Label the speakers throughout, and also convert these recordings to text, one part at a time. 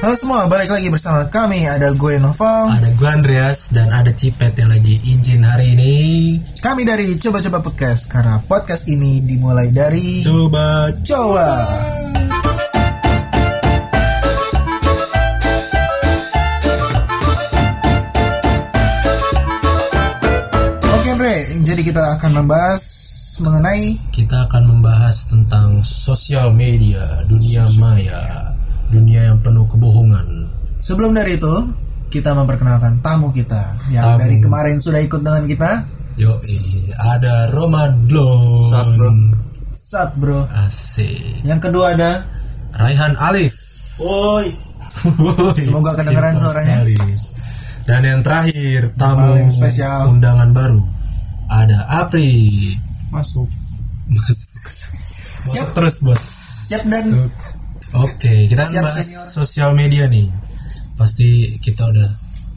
Speaker 1: Halo semua, balik lagi bersama kami. Ada gue Novel.
Speaker 2: Ada gue Andreas dan ada Cipet yang lagi izin hari ini.
Speaker 1: Kami dari Coba-Coba Podcast. Karena podcast ini dimulai dari
Speaker 2: Coba
Speaker 1: Jawa. Oke Andre, jadi kita akan membahas mengenai
Speaker 2: kita akan membahas tentang sosial media, dunia maya, dunia yang penuh kebohongan.
Speaker 1: sebelum dari itu kita memperkenalkan tamu kita yang
Speaker 2: Tamu.
Speaker 1: dari kemarin sudah ikut dengan kita.
Speaker 2: Yo, ada Roman Blon.
Speaker 1: Sup, bro. Sat bro.
Speaker 2: Asik.
Speaker 1: Yang kedua ada
Speaker 2: Raihan Alif.
Speaker 1: Woi.
Speaker 2: Woi,
Speaker 1: Semoga kedengeran
Speaker 2: simpel
Speaker 1: suaranya.
Speaker 2: sekali. Dan yang terakhir tamu
Speaker 1: Paling spesial.
Speaker 2: undangan baru ada Apri.
Speaker 1: Masuk.
Speaker 2: Masuk.
Speaker 1: Siap.
Speaker 2: Siap terus bos.
Speaker 1: Siap dan
Speaker 2: Masuk. Gitu. Oke, kita akan
Speaker 1: Siap,
Speaker 2: bahas
Speaker 1: senior.
Speaker 2: sosial media nih. Pasti kita udah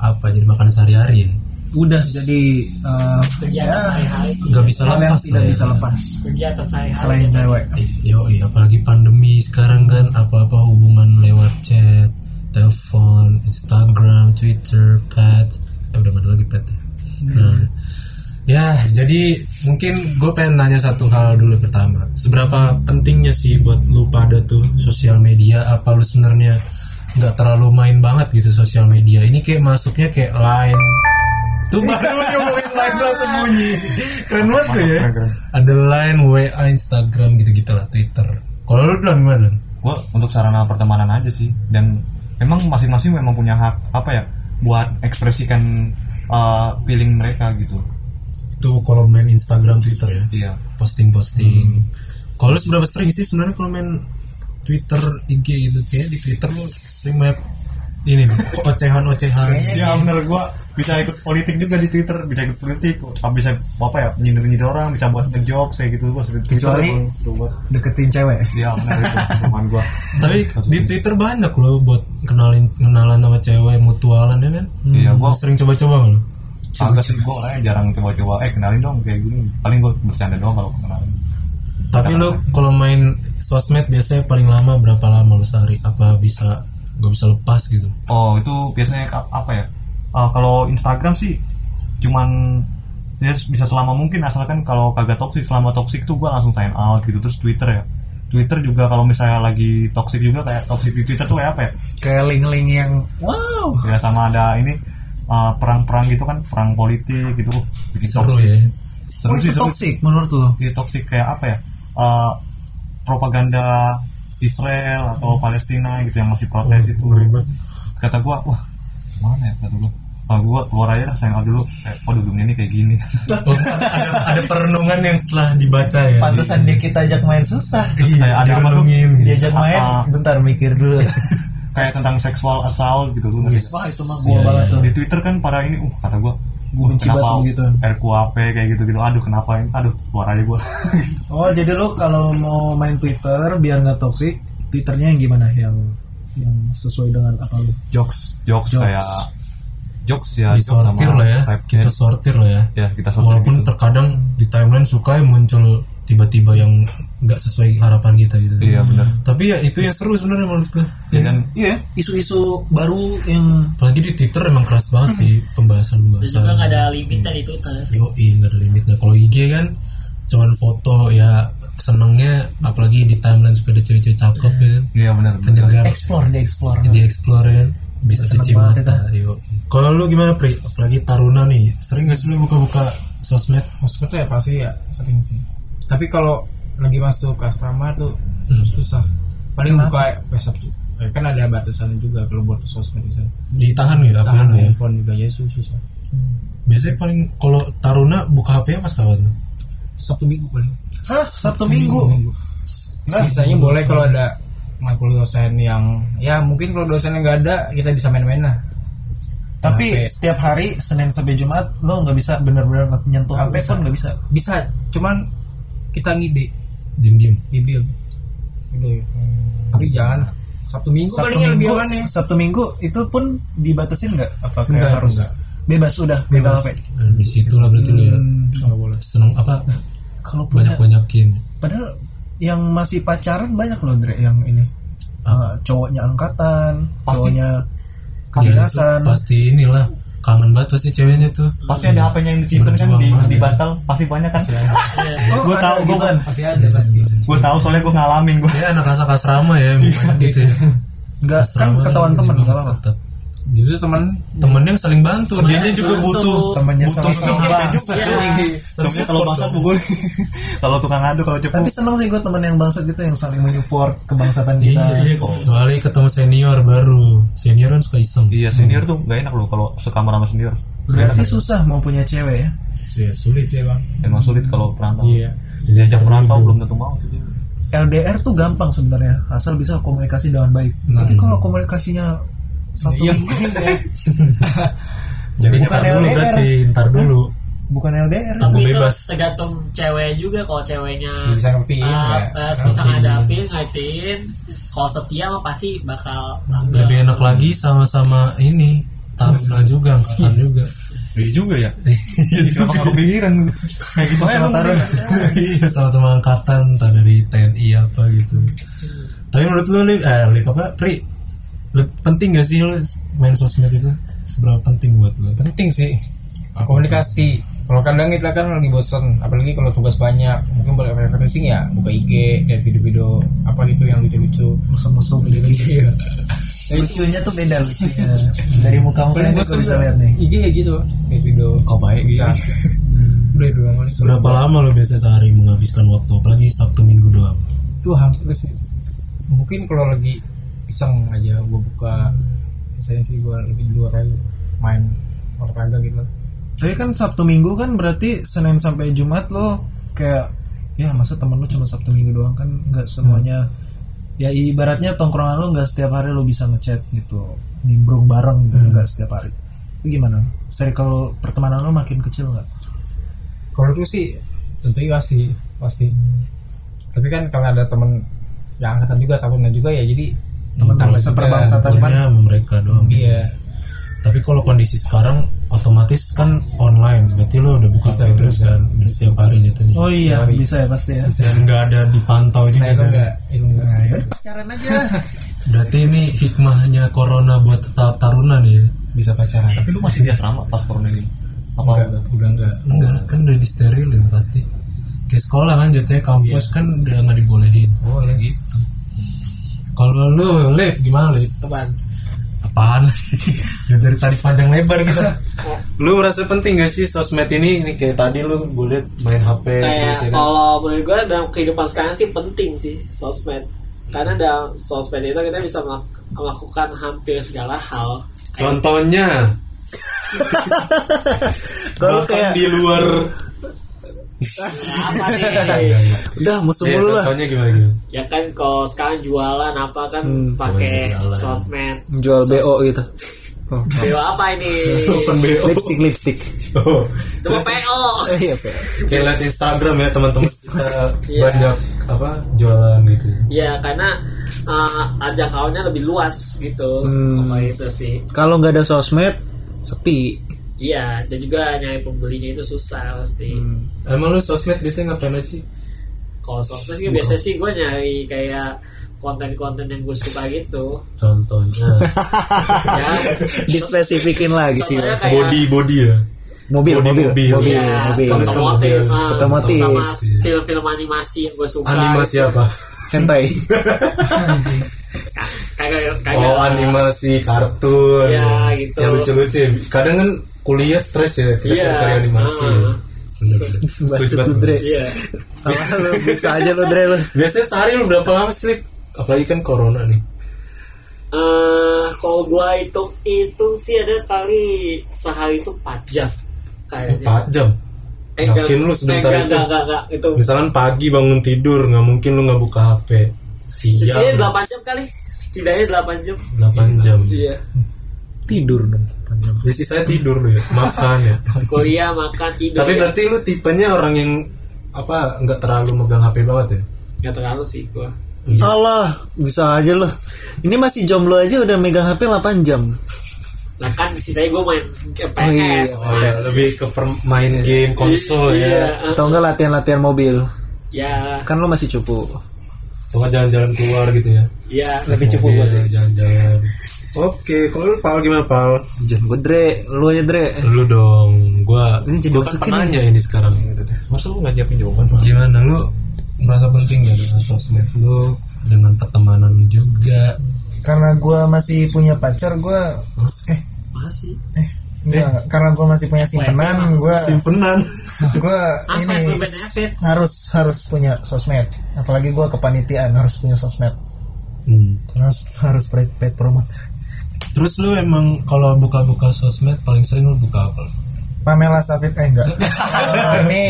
Speaker 2: apa jadi makan sehari-hari. ya.
Speaker 1: udah jadi eh,
Speaker 3: kegiatan Ah, sehari-hari
Speaker 2: Nggak bisa
Speaker 1: Iya, hal yang
Speaker 2: lepas.
Speaker 1: tidak
Speaker 2: lah ya.
Speaker 1: bisa lepas
Speaker 3: kegiatan sehari-hari
Speaker 1: selain cewek.
Speaker 2: Eh, yoi, apalagi pandemi sekarang kan apa-apa hubungan lewat chat, telepon, Instagram, Twitter, pet. Eh, udah nggak ada lagi pet. ya. Nah, ya, jadi mungkin gue pengen nanya satu hal dulu pertama. Seberapa pentingnya sih buat lu pada tuh sosial media? Apa lu sebenarnya nggak terlalu main banget gitu sosial media? Ini kayak masuknya kayak lain. Tuh baru nyomongin lain langsung bunyi. Keren banget tuh
Speaker 4: Iya.
Speaker 2: ya ada line WA Instagram gitu-gitu lah Twitter kalau lu belum gimana Don?
Speaker 4: gue untuk sarana pertemanan aja sih dan memang masing-masing memang punya hak apa ya buat ekspresikan uh, feeling mereka gitu
Speaker 2: tuh kalau main Instagram Twitter ya Hmm.
Speaker 4: iya
Speaker 2: posting-posting kalau lu seberapa sering sih sebenarnya kalau main Twitter IG gitu kayak di Twitter lu sering banget ini nih, ocehan-ocehan Ya
Speaker 4: iya
Speaker 2: gitu.
Speaker 4: bener gue bisa ikut politik juga di Twitter bisa ikut politik bisa apa ya nyindir nyindir orang bisa buat ngejok saya gitu gue sering
Speaker 1: Kecuali-
Speaker 4: gua seru banget.
Speaker 1: Deketin cewek.
Speaker 4: iya bener itu teman gue
Speaker 2: tapi di Twitter banyak loh buat kenalin kenalan sama cewek mutualan ya kan
Speaker 4: Iya,
Speaker 2: Hmm,
Speaker 4: gua-
Speaker 2: lu sering coba-coba nggak lu?
Speaker 4: agak sih gue orangnya jarang coba-coba eh kenalin dong kayak gini paling gue bercanda doang kalau kenalin
Speaker 2: tapi lu kalau main sosmed biasanya paling lama berapa lama lu sehari apa bisa gak bisa lepas gitu
Speaker 4: Oh itu biasanya ka- apa ya? Ah, kalau Instagram sih cuman ya bisa selama mungkin asalkan kalau kagak toxic selama toxic tuh gue langsung sign out gitu terus Twitter ya Twitter juga kalau misalnya lagi toxic juga kayak toxic di Twitter tuh kayak apa ya?
Speaker 1: Kayak link-link yang wow.
Speaker 4: Ya sama ada ini ah, perang-perang gitu kan perang politik gitu uh, bikin
Speaker 2: seru
Speaker 4: toxic.
Speaker 2: ya
Speaker 4: Seru
Speaker 1: oh,
Speaker 4: sih
Speaker 1: itu
Speaker 4: seru.
Speaker 1: toxic menurut lo?
Speaker 4: Jadi toxic kayak apa ya? Ah, propaganda Israel atau Palestina gitu yang masih protes
Speaker 2: Oh,
Speaker 4: itu kata gua wah mana ya kata gua ah gua keluar aja lah sayang dulu kayak oh dunia ini kayak gini
Speaker 2: Oh, ada, ada perenungan yang setelah dibaca ya.
Speaker 1: Pantesan dia kita ajak main susah.
Speaker 4: terus kayak ada apa Iya, tuh
Speaker 2: Direnungin gitu.
Speaker 1: Diajak main,
Speaker 4: Ah.
Speaker 1: bentar mikir dulu.
Speaker 4: kayak tentang seksual assault gitu tuh
Speaker 2: Yes.
Speaker 1: Wah itu mah
Speaker 2: Iya,
Speaker 1: gua
Speaker 2: iya,
Speaker 1: banget
Speaker 2: iya.
Speaker 1: tuh.
Speaker 4: di Twitter kan para ini uh kata gua
Speaker 1: Gua
Speaker 4: "Wah,
Speaker 1: benci banget sama gitu."
Speaker 4: RKUHP ya," kayak gitu-gitu aduh kenapa ini aduh keluar aja gua
Speaker 1: Oh jadi lo kalau mau main Twitter biar nggak toxic, Twitternya yang gimana? Yang yang sesuai dengan apa lo?
Speaker 4: jokes jokes
Speaker 1: Jokes.
Speaker 4: kayak jokes ya jokes
Speaker 2: disortir
Speaker 4: sama
Speaker 2: lah ya.
Speaker 4: hype
Speaker 2: Kita
Speaker 4: net.
Speaker 2: sortir lah ya.
Speaker 4: ya kita sortir
Speaker 2: Walaupun
Speaker 4: gitu.
Speaker 2: terkadang di timeline suka yang muncul tiba-tiba yang nggak sesuai harapan kita gitu.
Speaker 4: iya benar
Speaker 2: Tapi ya itu yang seru sebenarnya menurut gue.
Speaker 4: ya kan
Speaker 1: Iya, isu-isu baru yang
Speaker 2: Apalagi di Twitter emang keras banget sih
Speaker 3: dan
Speaker 2: pembahasan-pembahasan.
Speaker 3: Hmm. juga nggak ada limitnya di Twitter
Speaker 2: Yoi, nggak ada limitnya. Kalau IG kan cuman foto ya senengnya apalagi di timeline suka ada cewek-cewek cakep ya.
Speaker 3: Hmm.
Speaker 2: kan.
Speaker 4: iya benar
Speaker 2: Hanya
Speaker 4: benar
Speaker 2: garap.
Speaker 1: explore di explore.
Speaker 2: di explore kan bisa
Speaker 1: Seneng
Speaker 2: cuci
Speaker 1: banget
Speaker 2: mata yuk. kalau lu gimana pri apalagi taruna nih sering gak sih lu buka-buka sosmed
Speaker 5: Maksudnya ya pasti ya sering sih. Tapi kalau lagi masuk asrama tuh
Speaker 2: Hmm.
Speaker 5: susah. Paling buka WhatsApp tuh. Eh, kan ada batasan juga kalau buat sosmed di sana.
Speaker 2: ditahan gitu apa
Speaker 5: Tahan
Speaker 2: lu ya
Speaker 5: handphone juga ya sus- susah.
Speaker 2: biasanya paling kalau taruna buka hp nya pas kapan tuh
Speaker 5: Sabtu minggu paling.
Speaker 1: Hah, Sabtu Minggu. Nah,
Speaker 5: Sisanya boleh kalau ada makul dosen yang ya mungkin kalau dosennya nggak ada kita bisa main-main lah.
Speaker 1: Tapi
Speaker 5: HP.
Speaker 1: setiap hari Senin sampai Jumat lo nggak bisa bener-bener nge- nyentuh HP pun nggak bisa.
Speaker 5: Bisa, cuman kita ngide
Speaker 2: diem diem
Speaker 5: di build. Gitu ya. Tapi jangan lah. Sabtu minggu paling yang lebih aman ya.
Speaker 1: Sabtu Minggu itu pun dibatasin nggak? Apa kayak
Speaker 5: Nggak,
Speaker 1: harus
Speaker 5: nggak.
Speaker 1: bebas udah bebas HP?
Speaker 2: Nah, di situ lah berarti lu ya
Speaker 5: Nggak boleh.
Speaker 2: seneng apa
Speaker 1: Hmm. Kalau punya,
Speaker 2: banyak banyakin
Speaker 1: padahal yang masih pacaran banyak loh Dre yang ini eh, cowoknya angkatan cowoknya kedinasan
Speaker 2: Ya, itu pasti inilah kangen banget pasti ceweknya tuh
Speaker 4: pasti ada HP-nya yang disimpan kan
Speaker 2: Berjuang
Speaker 4: di,
Speaker 2: banget
Speaker 4: di
Speaker 2: ya.
Speaker 4: bantal pasti banyak kan
Speaker 1: Oh,
Speaker 4: gue
Speaker 1: ada
Speaker 4: tahu gue
Speaker 1: gitu kan?
Speaker 5: Pasti ada pasti.
Speaker 4: gue tahu soalnya gue ngalamin gue
Speaker 2: ya anak anak asrama ya emang gitu ya
Speaker 1: nggak kan
Speaker 2: Asrama
Speaker 1: ketahuan
Speaker 2: kan
Speaker 1: temen
Speaker 2: gitu,
Speaker 1: nggak apa
Speaker 2: tetap.
Speaker 5: Justru temen
Speaker 2: temennya yang saling bantu dianya juga butuh
Speaker 4: Iya,
Speaker 1: temennya
Speaker 2: butuh
Speaker 1: sama-sama
Speaker 2: support
Speaker 1: bangsa.
Speaker 2: juga tuh
Speaker 4: Sebenarnya kalau bangsat pukul kalau tukang adu kalau cepu
Speaker 1: tapi seneng sih gue temen yang bangsa gitu yang saling menyupport kebangsaan kita ya.
Speaker 2: iya iya kecuali ketemu senior baru senior kan suka iseng kan
Speaker 4: iya senior tuh gak enak loh kalau sekamar sama senior
Speaker 1: berarti susah mau punya cewek ya
Speaker 5: Iya, sulit sih bang.
Speaker 4: emang sulit kalau perantau
Speaker 5: Iya.
Speaker 4: diajak merantau belum tentu mau sih dia.
Speaker 1: LDR tuh gampang sebenarnya asal bisa komunikasi dengan baik tapi kalau komunikasinya satu
Speaker 5: Iya.
Speaker 2: jadi
Speaker 1: Bukan
Speaker 2: ntar dulu
Speaker 1: LDR.
Speaker 2: berarti ntar dulu
Speaker 1: bukan LDR
Speaker 2: Tapi-
Speaker 3: itu
Speaker 2: bebas.
Speaker 3: tergantung cewek juga kalau ceweknya
Speaker 5: Bisa ngertiin,
Speaker 3: ah,
Speaker 5: ya.
Speaker 3: pas bisa ngadapin ngertiin kalau setia mah pasti bakal
Speaker 2: lebih enak lagi sama-sama ini taruna juga angkatan juga
Speaker 4: Iya juga ya kenapa gak kepikiran kayak gitu aja emang
Speaker 1: Tarun.
Speaker 2: iya sama-sama angkatan entah dari TNI apa gitu tapi menurut lu Lip, eh, Lip apa Pri Lip, penting gak sih lu main sosmed itu seberapa penting buat lu
Speaker 5: Penting sih.
Speaker 2: Apa
Speaker 5: komunikasi. Kalau kadang kita kan lagi bosen, apalagi kalau tugas banyak, mungkin buat refreshing ya, buka IG dan video-video apa gitu yang lucu-lucu.
Speaker 1: musuh-musuh
Speaker 5: Iya.
Speaker 1: lucunya tuh beda lucunya dari muka mukanya
Speaker 5: Paling
Speaker 1: gue
Speaker 5: bosen
Speaker 1: bisa
Speaker 5: tuh
Speaker 1: lihat nih
Speaker 5: IG ya gitu, kayak video.
Speaker 4: kau baik
Speaker 5: Bisa.
Speaker 2: Iya.
Speaker 5: Udah dua kali.
Speaker 2: Oh, berapa lama lu biasa sehari menghabiskan waktu apalagi Sabtu Minggu doang
Speaker 5: Tuh hampir sih. Mungkin kalau lagi iseng aja, gue buka. Biasanya sih gue lebih di luar aja, main olahraga gitu.
Speaker 1: tapi kan Sabtu Minggu kan berarti Senin sampai Jumat lo kayak ya masa temen lu cuma Sabtu Minggu doang kan nggak semuanya ya ibaratnya tongkrongan lu nggak setiap hari lu bisa ngechat gitu nimbrung bareng gitu, nggak setiap hari itu gimana circle pertemanan lu makin kecil nggak
Speaker 5: kalau itu sih tentunya pasti pasti tapi kan kalau ada temen yang angkatan juga tahunan juga ya jadi
Speaker 1: teman
Speaker 5: tambah
Speaker 1: bangsa
Speaker 5: juga.
Speaker 1: perbangsa cuman
Speaker 2: Pokoknya sama mereka doang
Speaker 5: iya
Speaker 2: tapi kalau kondisi sekarang otomatis kan online berarti lu udah buka
Speaker 5: Bisa,
Speaker 2: HP terus kan udah setiap hari nyetelnya
Speaker 1: oh iya bisa ya pasti ya
Speaker 2: dan nggak ada dipantau
Speaker 5: nah
Speaker 2: juga
Speaker 5: itu
Speaker 1: Iya.
Speaker 2: kan?
Speaker 5: enggak itu enggak
Speaker 1: Nah, pacaran aja
Speaker 2: berarti ini hikmahnya corona buat ta- taruna nih ya?
Speaker 1: bisa pacaran
Speaker 4: tapi lu masih di asrama pas corona ini apa
Speaker 5: Enggak, udah enggak
Speaker 2: enggak lah, kan udah disterilin pasti kayak sekolah kan jatuhnya kampus kan udah nggak dibolehin
Speaker 5: Iya. oh ya gitu
Speaker 2: kalau lu lip gimana lip
Speaker 3: teman
Speaker 2: apaan udah dari tarik panjang lebar kita lu merasa penting gak sih sosmed ini ini kayak tadi lu boleh main hp terus ya
Speaker 3: kayak
Speaker 2: kan?
Speaker 3: kalau menurut gue dalam kehidupan sekarang sih penting sih sosmed karena dalam sosmed itu kita bisa melak- melakukan hampir segala hal
Speaker 2: contohnya
Speaker 1: kalau
Speaker 2: bahkan
Speaker 1: kayak
Speaker 2: di luar
Speaker 3: apa nih
Speaker 1: udah musuh
Speaker 2: ya,
Speaker 1: mulu lah
Speaker 2: contohnya gimana gitu
Speaker 3: ya kan kalau sekarang jualan apa kan pakai
Speaker 2: jualan.
Speaker 3: sosmed
Speaker 1: jual BO gitu
Speaker 3: Dewa apa ini
Speaker 1: lipstick lipstick
Speaker 2: Oh,
Speaker 3: itu mah PO
Speaker 1: iya
Speaker 2: kayak lihat Instagram ya teman-teman kita
Speaker 3: Iya.
Speaker 2: banyak apa jualan gitu
Speaker 3: ya karena uh, jangkauannya lebih luas gitu
Speaker 1: Hmm.
Speaker 3: sama itu sih
Speaker 1: kalau nggak ada sosmed sepi
Speaker 3: iya dan juga nyari pembelinya itu susah pasti
Speaker 2: Hmm. emang lu sosmed biasanya ngapain aja sih
Speaker 3: kalau sosmed sih biasanya sih gue nyari kayak konten-konten yang gue suka gitu
Speaker 2: contohnya
Speaker 3: ya
Speaker 1: dispesifikin lagi sih
Speaker 3: contohnya kayak
Speaker 2: body body ya
Speaker 1: mobil
Speaker 2: Body,
Speaker 1: mobil Iya,
Speaker 2: mobil.
Speaker 1: mobil
Speaker 3: ya,
Speaker 1: mobil
Speaker 3: otomotif, ah,
Speaker 1: Otomotif.
Speaker 3: sama film-film animasi yang gue suka
Speaker 2: animasi
Speaker 3: gitu.
Speaker 2: apa
Speaker 1: hentai
Speaker 3: kagak kagak
Speaker 2: Oh animasi kartun
Speaker 3: Ya, gitu.
Speaker 2: Yang lucu-lucu ya. Kadang kan kuliah stres ya Kita
Speaker 3: Iya.
Speaker 2: cari animasi
Speaker 3: Ah.
Speaker 2: Bener-bener Setuju
Speaker 1: Bacot lu, Dre.
Speaker 2: banget
Speaker 3: iya
Speaker 1: sama lu bisa aja lu Dre lu
Speaker 2: Biasanya sehari lu berapa lama sleep? Apalagi kan corona nih
Speaker 3: Iya. eh kalau gua hitung-hitung sih ada kali sehari itu 4 jam kayaknya.
Speaker 2: 4 jam
Speaker 3: enggak,
Speaker 2: Yakin lu sebentar itu?
Speaker 3: enggak, Eh, Enggak, enggak, enggak, itu.
Speaker 2: Misalkan pagi bangun tidur nggak mungkin lu nggak buka HP
Speaker 3: Setidaknya
Speaker 2: Siang
Speaker 3: 8 jam kali. Setidaknya 8 jam.
Speaker 2: 8 jam
Speaker 3: Iya, Iya.
Speaker 1: tidur dong
Speaker 2: Jadi saya tidur lu ya Makan ya
Speaker 3: Kuliah, makan, tidur.
Speaker 2: Tapi
Speaker 3: ya.
Speaker 2: berarti lu tipenya orang yang apa nggak terlalu megang HP banget ya?
Speaker 3: Nggak terlalu sih gua.
Speaker 1: Allah bisa aja lu ini masih jomblo aja udah megang HP 8 jam
Speaker 3: Nah kan sisanya gua main ke PS.
Speaker 2: Oh, ya,
Speaker 3: Mas.
Speaker 2: lebih ke per- main game konsol ya.
Speaker 3: Iya, eh,
Speaker 1: atau enggak latihan-latihan mobil
Speaker 3: Ya,
Speaker 1: kan lu masih cupu
Speaker 2: Atau nggak jalan-jalan keluar gitu ya
Speaker 3: Iya, lebih cukup
Speaker 2: Mobil,
Speaker 3: buat ya.
Speaker 2: jalan-jalan
Speaker 1: Oke, kalau lu pal gimana pal?
Speaker 6: Jangan gue Dre, lu aja Dre.
Speaker 2: lu dong gua
Speaker 6: Ini jadi
Speaker 2: gua kan
Speaker 6: masukin
Speaker 2: penanya ini sekarang
Speaker 4: Masa lu nggak nyiapin jawaban? Pak?
Speaker 2: gimana lu merasa penting gak dengan sosmed lu dengan pertemanan lu juga
Speaker 1: Karena gua masih punya pacar, gua
Speaker 3: Masih.
Speaker 1: enggak, karena gua masih punya simpenan, gua
Speaker 4: Simpenan.
Speaker 1: gua
Speaker 3: Apa
Speaker 1: ini
Speaker 3: itu benefit?
Speaker 1: harus harus punya sosmed. Apalagi gua kepanitiaan harus punya sosmed.
Speaker 2: Hmm.
Speaker 1: Harus harus paid, paid promote.
Speaker 2: terus lu emang kalau buka-buka sosmed paling sering lu buka apa
Speaker 1: Pamela Safit eh enggak. Oh, ini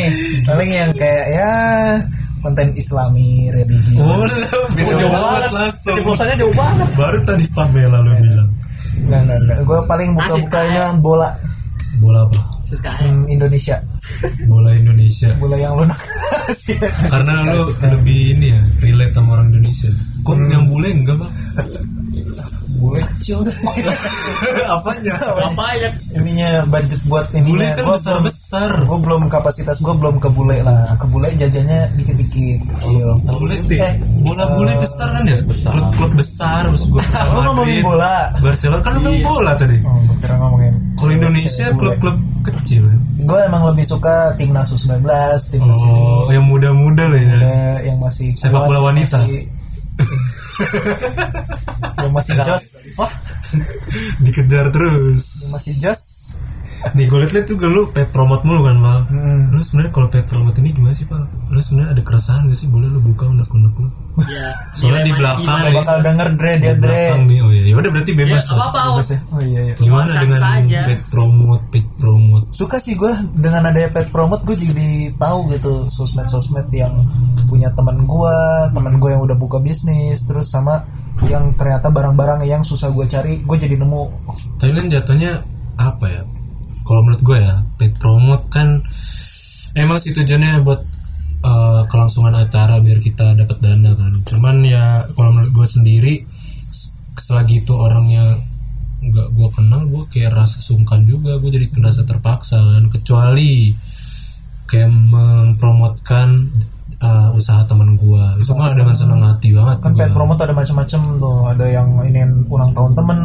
Speaker 1: paling yang kayak ya konten islami religi.
Speaker 4: Beda banget langsung. Jauh jauh banget.
Speaker 2: baru tadi Pamela lu bilang
Speaker 1: Enggak enggak enggak. Gua paling buka-bukanya bola
Speaker 2: bola apa
Speaker 3: Sekarang.
Speaker 1: hmm, Indonesia.
Speaker 2: bola Indonesia
Speaker 1: Bola yang lunak. Iya,
Speaker 2: karena lu lebih ini ya relate sama orang Indonesia kok
Speaker 1: Hmm.
Speaker 2: yang bule enggak bang
Speaker 1: Bule kecil deh.
Speaker 2: apanya
Speaker 3: Apa ya?
Speaker 1: ininya budget buat ini
Speaker 2: bule kan besar besar
Speaker 1: gue belum kapasitas gue belum ke bule lah ke bule jajannya dikit dikit
Speaker 2: Oh,
Speaker 1: kecil
Speaker 2: bule deh
Speaker 1: Eh,
Speaker 2: bola bule besar kan ya klub klub besar maksud gua
Speaker 1: lo ngomongin bola
Speaker 2: Barcelona kan lu bilang
Speaker 3: Iya.
Speaker 2: bola tadi
Speaker 1: oh iya, gue kira ngomongin
Speaker 2: kalau Indonesia klub-klub kecil kan?
Speaker 1: gue emang lebih suka timnas u 19 timnas
Speaker 2: Oh, yang muda-muda lah ya.
Speaker 1: ini ada yang masih
Speaker 2: Sepak
Speaker 1: kuat,
Speaker 2: bola wanita.
Speaker 1: masih- yang masih jos wah
Speaker 2: Dikejar terus.
Speaker 1: yang masih jos
Speaker 2: Nih gue liat tuh lu pet promote mulu kan, Mal.
Speaker 1: Hmm.
Speaker 2: Lu sebenarnya kalau pet promote ini gimana sih, Pak? Lu sebenarnya ada keresahan gak sih? Boleh lu buka undang-undang lu?
Speaker 3: Ya.
Speaker 2: Soalnya di belakang
Speaker 1: Gak
Speaker 2: ya.
Speaker 1: Iya, bakal denger dre
Speaker 2: Di
Speaker 1: dia dre
Speaker 2: belakang nih. Oh iya, ya udah berarti
Speaker 3: Ya,
Speaker 2: bebas. lah.
Speaker 3: apa apa
Speaker 1: Bebas ya? oh iya iya
Speaker 2: Gimana
Speaker 3: Makan
Speaker 2: dengan
Speaker 3: saja.
Speaker 2: pet promote, pet promote?
Speaker 1: suka sih gue dengan ada pet promote gue jadi tahu gitu sosmed sosmed yang punya teman gue teman gue yang udah buka bisnis terus sama yang ternyata barang-barang yang susah gue cari gue jadi nemu
Speaker 2: Thailand jatuhnya apa ya? Kalau menurut gue ya, paid promote kan emang sih tujuannya buat eh, kelangsungan acara biar kita dapat dana kan. Cuman ya kalau menurut gue sendiri s- selagi itu orangnya nggak gue kenal, gue kayak rasa sungkan juga, gue jadi merasa terpaksa kan. Kecuali kayak mempromotkan eh, usaha teman gue, itu mah dengan senang hati banget.
Speaker 1: kan
Speaker 2: gua.
Speaker 1: pet promote ada macam-macam tuh ada yang ini ulang tahun temen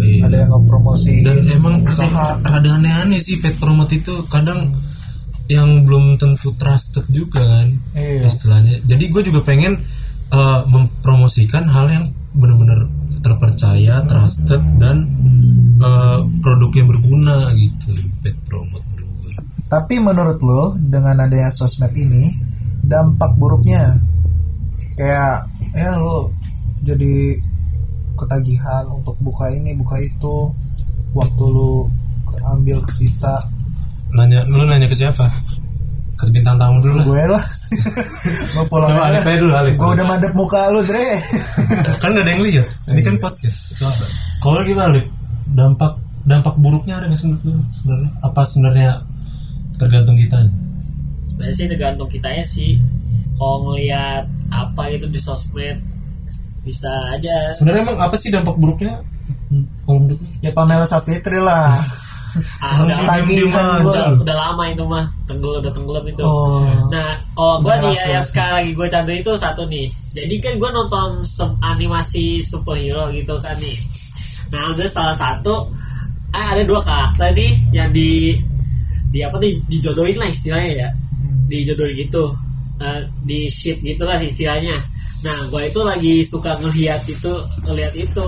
Speaker 2: Iya.
Speaker 1: ada yang promosi
Speaker 2: dan emang
Speaker 1: usaha
Speaker 2: aneh- rada aneh-aneh sih pet promote itu kadang yang belum tentu trusted juga kan
Speaker 1: Iya.
Speaker 2: istilahnya jadi gue juga pengen eh, mempromosikan hal yang benar-benar terpercaya trusted dan eh, produknya berguna gitu pet promote menurut gue.
Speaker 1: tapi menurut lo dengan adanya sosmed ini dampak buruknya kayak ya lo jadi ketagihan untuk buka ini buka itu waktu lo ambil kesita
Speaker 2: nanya lu nanya ke siapa ke bintang tamu dulu lah
Speaker 1: gue lah gue pulang
Speaker 2: coba gitu. Alif
Speaker 1: aja
Speaker 2: aja dulu Alif
Speaker 1: gue udah madep muka lo Dre
Speaker 2: kan gak ada yang lihat ini
Speaker 1: Iya.
Speaker 2: kan podcast suara kalau gimana Lip? dampak dampak buruknya ada nggak sih menurut lu sebenarnya apa sebenarnya tergantung kita
Speaker 3: Sebenarnya sih tergantung kitanya sih. Kalau ngelihat apa itu di sosmed bisa aja
Speaker 2: sebenarnya emang apa sih dampak buruknya Hmm, kalau menurut lu?
Speaker 1: ya Pamela Safitri lah
Speaker 3: ah, udah,
Speaker 2: Orang diem-diem
Speaker 1: tagihan
Speaker 2: aja.
Speaker 1: gua.
Speaker 3: udah, udah lama itu mah tenggelam udah tenggelam itu
Speaker 1: Oh.
Speaker 3: nah kalau gue
Speaker 1: Udah
Speaker 3: sih
Speaker 1: langsung
Speaker 3: ya, yang
Speaker 1: sih.
Speaker 3: sekarang lagi gue candu itu satu nih jadi kan gue nonton se- animasi superhero gitu kan nih nah udah salah satu ah, ada dua karakter nih yang di di apa nih dijodohin lah istilahnya ya dijodohin gitu Nah, di ship gitu lah sih istilahnya nah gue itu lagi suka ngelihat itu ngelihat itu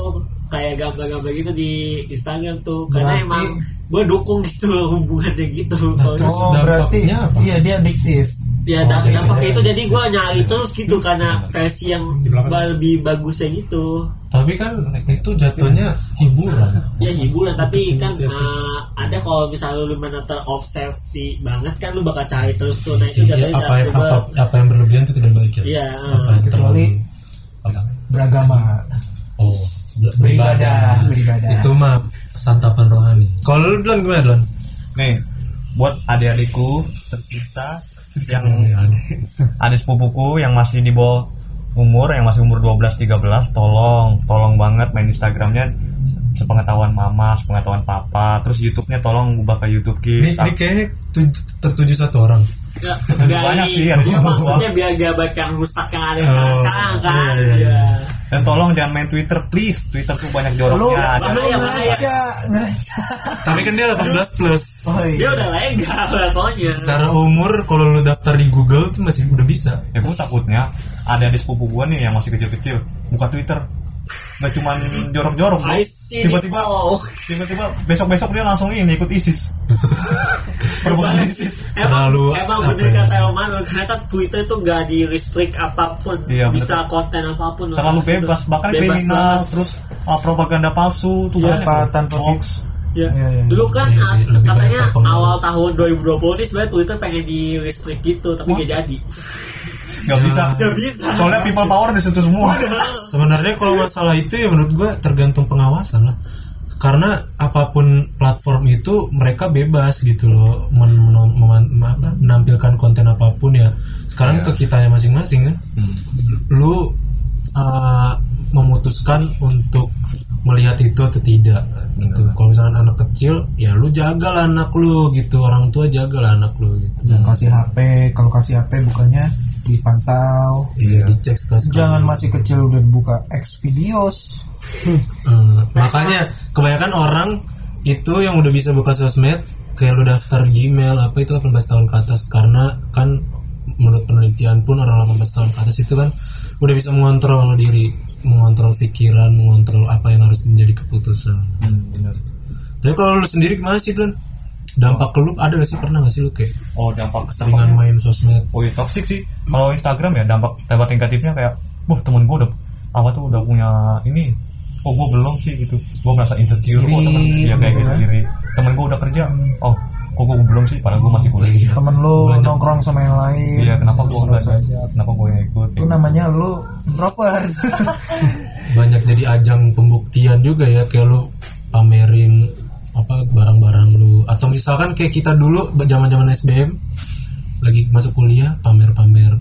Speaker 3: kayak gambar-gambar gitu di Instagram tuh karena
Speaker 1: Berarti-
Speaker 3: emang gue dukung gitu loh hubungannya gitu Kalau itu-
Speaker 1: oh
Speaker 2: Dampaknya
Speaker 1: berarti
Speaker 2: apa?
Speaker 1: iya dia adiktif
Speaker 4: Oh,
Speaker 3: ya damp- dampaknya itu jadi gue nyari terus gitu
Speaker 4: Hmm.
Speaker 3: karena versi yang ba- lebih bagusnya gitu
Speaker 2: tapi kan itu jatuhnya hiburan
Speaker 3: ya hiburan tapi kan eh, ada kalau misalnya lu benar terobsesi banget kan lu bakal cari terus tuh nah itu
Speaker 2: Iya,
Speaker 3: jatuhnya
Speaker 2: apa yang
Speaker 3: coba-
Speaker 2: apa, apa yang berlebihan itu tidak baik ya
Speaker 3: Iya.
Speaker 2: apa yang terlalu
Speaker 1: Kecuali-
Speaker 2: apa?
Speaker 1: beragama
Speaker 2: oh ber-
Speaker 1: beribadah beribadah
Speaker 2: itu mah santapan rohani kalau lu Don gimana Don
Speaker 4: Nih, buat adik-adikku tercinta yang ada sepupuku yang masih di bawah umur yang masih umur 12 13 tolong tolong banget main Instagramnya sepengetahuan mama sepengetahuan papa terus YouTube-nya tolong ubah ke YouTube
Speaker 2: ini,
Speaker 4: Kids
Speaker 2: ini kayaknya tu- tertuju satu orang
Speaker 3: Nggak-
Speaker 4: Tentu
Speaker 3: nggak
Speaker 4: banyak
Speaker 3: ini. Iya,
Speaker 4: sih, ada yang
Speaker 3: maksudnya biar gak bakal rusak yang ada
Speaker 4: Oh,
Speaker 3: sekarang kan
Speaker 4: iya, iya, iya.
Speaker 3: Iya.
Speaker 4: Dan tolong jangan main Twitter, please. Twitter tuh banyak
Speaker 1: Lu
Speaker 4: joroknya. Ada.
Speaker 3: bahaya, bahaya.
Speaker 1: ngaca ngaca
Speaker 2: Tapi kan dia 18 plus.
Speaker 1: oh
Speaker 3: dia
Speaker 1: iya
Speaker 3: udah legal pokoknya
Speaker 2: Secara umur kalau lu daftar di Google tuh masih udah bisa.
Speaker 4: Ya gue takutnya ada di sepupu gue nih yang masih kecil-kecil buka Twitter. Gak cuman jorok-jorok. bro.
Speaker 3: I see
Speaker 4: Tiba-tiba
Speaker 3: people.
Speaker 4: tiba-tiba besok-besok dia langsung ini ikut ISIS. Perbuatan
Speaker 3: Bahas-
Speaker 4: ISIS.
Speaker 3: Emang,
Speaker 2: Terlalu
Speaker 3: emang
Speaker 2: apa
Speaker 3: bener
Speaker 2: ya?
Speaker 3: kata Roman karena kan Twitter tuh gak di restrict apapun,
Speaker 4: Iya, bener.
Speaker 3: bisa konten apapun.
Speaker 4: Terlalu
Speaker 3: Maksudnya
Speaker 4: bebas, bahkan
Speaker 3: bebas
Speaker 4: kriminal,
Speaker 3: banget.
Speaker 4: terus uh, propaganda palsu tuh
Speaker 1: Tanpa-
Speaker 4: banyak, bro.
Speaker 1: tanpa
Speaker 4: hoax.
Speaker 3: Iya.
Speaker 1: Iya, iya.
Speaker 3: Dulu kan
Speaker 2: Iya sih,
Speaker 3: at-
Speaker 2: lebih
Speaker 3: katanya
Speaker 2: banyak terpengaruh.
Speaker 3: awal tahun 2020 ini sebenarnya Twitter pengen di restrict gitu, tapi gak jadi.
Speaker 4: Gak bisa.
Speaker 3: Gak bisa.
Speaker 4: Soalnya people power di situ semua.
Speaker 2: Sebenarnya kalau masalah itu ya menurut gua tergantung pengawasan lah. Karena apapun platform itu mereka bebas gitu loh men- men- mema- ma- apa, menampilkan konten apapun ya. Sekarang ke kita masing-masing kan. Lu uh, memutuskan untuk melihat itu atau tidak gitu. Kalau misalnya anak kecil ya lu jagalah anak lu gitu, orang tua jagalah anak lu gitu.
Speaker 1: jangan kasih HP kalau kasih HP bukannya dipantau
Speaker 2: Iya, dicek sekali.
Speaker 1: jangan masih kecil udah buka X videos
Speaker 2: Eh, makanya kebanyakan orang itu yang udah bisa buka sosmed kayak lu daftar Gmail apa itu 18 tahun ke atas karena kan menurut penelitian pun orang 18 tahun ke atas itu kan udah bisa mengontrol diri, mengontrol pikiran, mengontrol apa yang harus menjadi keputusan. Tapi kalau lu sendiri gimana sih tuh? Dampak ke lu ada gak sih pernah gak sih lu kayak
Speaker 4: Oh dampak
Speaker 2: seringan
Speaker 4: dampaknya-
Speaker 2: main sosmed?
Speaker 4: Oh iya toxic sih. Kalau Instagram ya dampak dampak negatifnya kayak, wah temen gue udah apa tuh udah punya ini, oh gue belum sih gitu. Gue merasa insecure. Oh temen ya kayak gitu diri. Temen gue udah kerja. Oh kok gue belum sih? Padahal gue masih
Speaker 2: Iya.
Speaker 4: kuliah.
Speaker 1: temen lu nongkrong sama yang lain
Speaker 4: Iya kenapa gue nggak
Speaker 1: Terus aja.
Speaker 4: Kenapa gue yang ikut? Gitu.
Speaker 1: itu namanya lu introvert
Speaker 2: banyak jadi ajang pembuktian juga ya kayak lu pamerin apa barang-barang lu atau misalkan kayak kita dulu zaman-zaman SBM lagi masuk kuliah pamer-pamer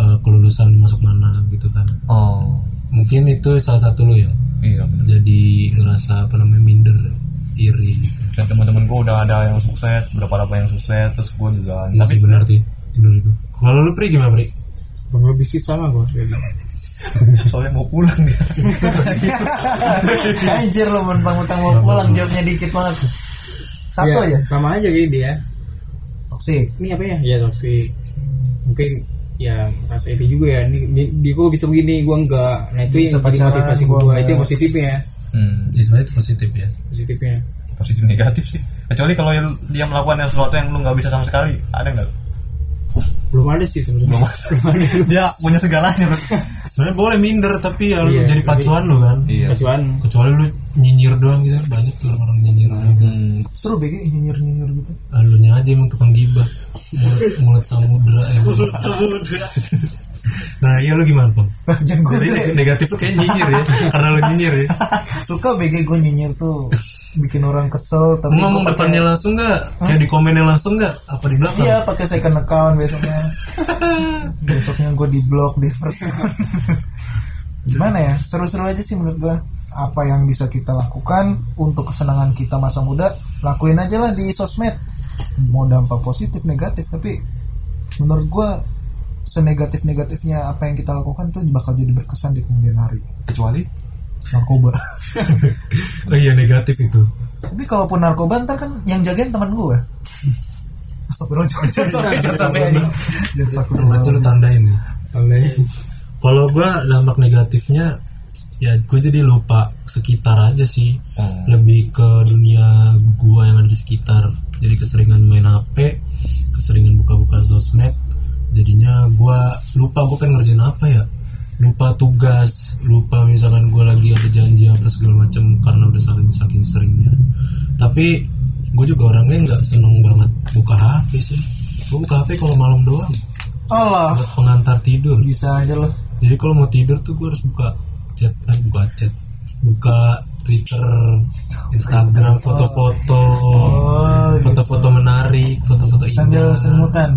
Speaker 2: eh, kelulusan masuk mana gitu kan
Speaker 4: Oh
Speaker 2: mungkin itu salah satu lu ya
Speaker 4: iya benar.
Speaker 2: jadi ngerasa apa namanya minder iri gitu
Speaker 4: Dan teman-teman gue udah ada yang sukses, berapa berapa yang sukses, terus gue juga.
Speaker 2: iya sih benar sih benar itu kalau lu pri gimana pri
Speaker 5: kurang lebih sih sama gitu. gue
Speaker 4: soalnya mau pulang dia.
Speaker 1: anjir lu mentang mentang mau pulang jawabnya dikit banget satu
Speaker 5: Iya.
Speaker 1: ya
Speaker 5: sama aja kayak dia
Speaker 1: toksik
Speaker 5: ini apa ya ya toxic mungkin ya rasa itu juga ya ini di, di gua bisa begini gua enggak nah itu
Speaker 1: Bisa
Speaker 5: yang jadi
Speaker 1: pacaran,
Speaker 5: motivasi
Speaker 1: gua
Speaker 5: gua
Speaker 1: enggak.
Speaker 5: itu yang positifnya
Speaker 4: Hmm.
Speaker 2: ya sebenarnya itu positif ya
Speaker 5: positifnya
Speaker 4: positif negatif sih kecuali kalau yang- dia melakukan yang sesuatu yang lu nggak bisa sama sekali ada nggak
Speaker 5: belum ada sih sebenarnya
Speaker 4: Belum ada. dia punya segalanya bro
Speaker 2: sebenarnya boleh minder tapi ya lu
Speaker 5: Iya,
Speaker 2: jadi
Speaker 5: tapi-
Speaker 2: pacuan lu kan
Speaker 4: iya
Speaker 5: kecuali
Speaker 2: kecuali lu nyinyir doang gitu banyak tuh orang nyinyir
Speaker 4: hmm.
Speaker 1: seru bego nyinyir nyinyir gitu
Speaker 2: Alunya aja emang tukang gibah mulut, mulut samudra ya Nah iya lu gimana Pong?
Speaker 1: jangan gue
Speaker 2: Jadi neg- negatif lu kayak nyinyir ya Karena lu nyinyir ya
Speaker 1: suka bego gue nyinyir tuh bikin orang kesel tapi
Speaker 2: Lu ngomong
Speaker 1: gua pakai-
Speaker 2: depannya langsung gak? Kayak di komennya langsung gak? Apa di belakang?
Speaker 1: iya pakai second account besoknya besoknya gue di blok di first account gimana ya seru-seru aja sih menurut gue apa yang bisa kita lakukan untuk kesenangan kita masa muda lakuin aja lah di sosmed mau dampak positif negatif tapi menurut gue senegatif negatifnya apa yang kita lakukan tuh bakal jadi berkesan di kemudian hari
Speaker 4: kecuali
Speaker 1: narkoba
Speaker 2: Oh iya negatif itu
Speaker 1: tapi kalaupun narkoba ntar kan yang jagain teman gue Astagfirullahaladzim Jangan sampai ini. Jangan sampai
Speaker 2: Itu lu tandain ya Kalau gua dampak negatifnya Ya gue jadi lupa sekitar aja sih
Speaker 4: Hmm.
Speaker 2: Lebih ke dunia gua yang ada di sekitar Jadi keseringan main HP Keseringan buka-buka sosmed Jadinya gua lupa gue kan ngerjain apa ya Lupa tugas Lupa misalkan gua lagi ada janji apa segala macam Karena udah saking, saking seringnya Tapi gue juga orangnya nggak seneng banget buka HP sih Gue buka HP kalau malam doang
Speaker 1: Allah
Speaker 2: Buat pengantar tidur
Speaker 1: bisa aja loh
Speaker 2: jadi kalau mau tidur tuh gue harus buka chat eh, buka chat buka Twitter Instagram foto-foto foto-foto menarik foto-foto
Speaker 1: sambil
Speaker 2: indah
Speaker 1: semutan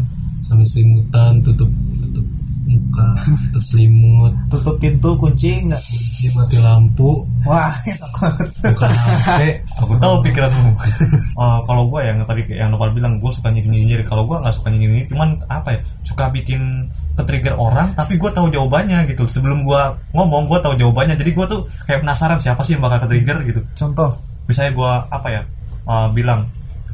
Speaker 2: sambil selimutan tutup tutup muka tutup selimut
Speaker 1: tutup pintu kunci nggak
Speaker 2: kunci mati lampu
Speaker 1: wah enak banget
Speaker 2: buka HP
Speaker 4: Aku tahu pikiranmu. Eh, kalau gue yang tadi kayak yang Nopal bilang gue suka nyinyir nyinyir. Kalau gue nggak suka nyinyir nyinyir, cuman apa ya? Suka bikin ketrigger orang, tapi gue tahu jawabannya gitu. Sebelum gue ngomong, gue tahu jawabannya. Jadi gue tuh kayak penasaran siapa sih yang bakal ketrigger gitu.
Speaker 1: contoh
Speaker 4: Misalnya gue apa ya? eh, bilang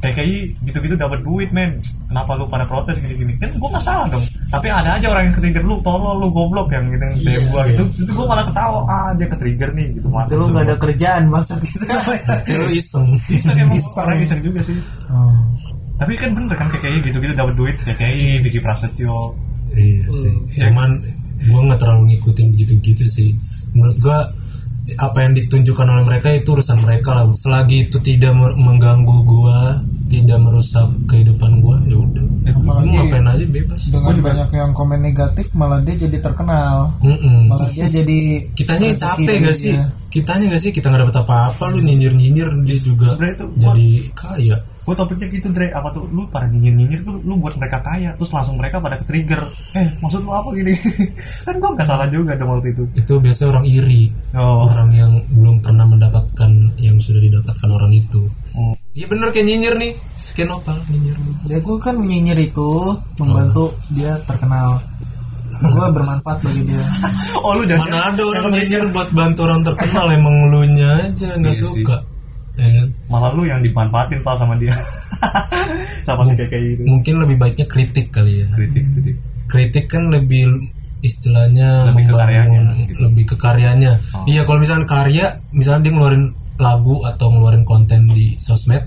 Speaker 4: TKI gitu-gitu dapat duit men kenapa lu pada protes gini-gini kan gue nggak salah dong tapi ada aja orang yang ketrigger lu tolol lu goblok yang gitu yang DM gue gitu itu gue malah ketawa ah dia ketrigger nih gitu
Speaker 1: Iya, itu
Speaker 4: mati
Speaker 1: lu nggak ada
Speaker 4: semua.
Speaker 1: kerjaan maksud gitu
Speaker 2: lu iseng
Speaker 4: Iseng emang
Speaker 1: Iseng.
Speaker 4: orang iseng juga sih
Speaker 1: Oh.
Speaker 4: tapi kan bener kan KKI gitu-gitu dapat duit KKI Diki Prasetyo
Speaker 2: Iya
Speaker 1: Hmm.
Speaker 2: sih. Cuman gue nggak terlalu ngikutin gitu-gitu sih. Menurut gue apa yang ditunjukkan oleh mereka itu urusan mereka lah. Selagi itu tidak mer- mengganggu gue, tidak merusak kehidupan gue, ya udah. Lu ngapain aja bebas.
Speaker 1: Nah, dengan banyak yang komen negatif malah dia jadi terkenal
Speaker 2: Mm-mm.
Speaker 1: malah dia jadi
Speaker 2: Kitanya yang
Speaker 1: rezeki
Speaker 2: capek gak
Speaker 1: dirinya.
Speaker 2: sih? Kitanya gak sih? Kita nggak dapat apa-apa. Lu nyinyir-nyinyir dia juga
Speaker 4: Sebenarnya itu
Speaker 2: jadi kaya.
Speaker 4: gue topiknya gitu Dre apa tuh lu pada nyinyir-nyinyir tuh lu buat mereka kaya terus langsung mereka pada ke trigger eh maksud lu apa gini kan gue nggak salah juga dong waktu itu
Speaker 2: Itu biasanya orang iri,
Speaker 4: oh
Speaker 2: orang yang belum pernah mendapatkan yang sudah didapatkan orang itu.
Speaker 4: Hmm.
Speaker 2: Iya bener kayak nyinyir nih, skin opal nyinyir.
Speaker 1: ya gue kan menyinyir itu membantu dia terkenal gue bermanfaat bagi dia
Speaker 4: oh lu jangan
Speaker 2: Mana ada orang nyinyir buat bantu orang terkenal emang lu nya aja nggak
Speaker 4: Iya sih.
Speaker 2: suka. Ya kan?
Speaker 4: malah lu yang dimanfaatin pal sama dia sama si gitu. KKI itu
Speaker 2: Mungkin lebih baiknya kritik kali ya.
Speaker 4: kritik kritik
Speaker 2: Kritik kan lebih istilahnya
Speaker 4: Lebih ke
Speaker 2: membangun-
Speaker 4: karyanya, gitu.
Speaker 2: lebih ke karyanya. Iya kalau misalkan karya, misalnya dia ngeluarin lagu atau ngeluarin konten di sosmed,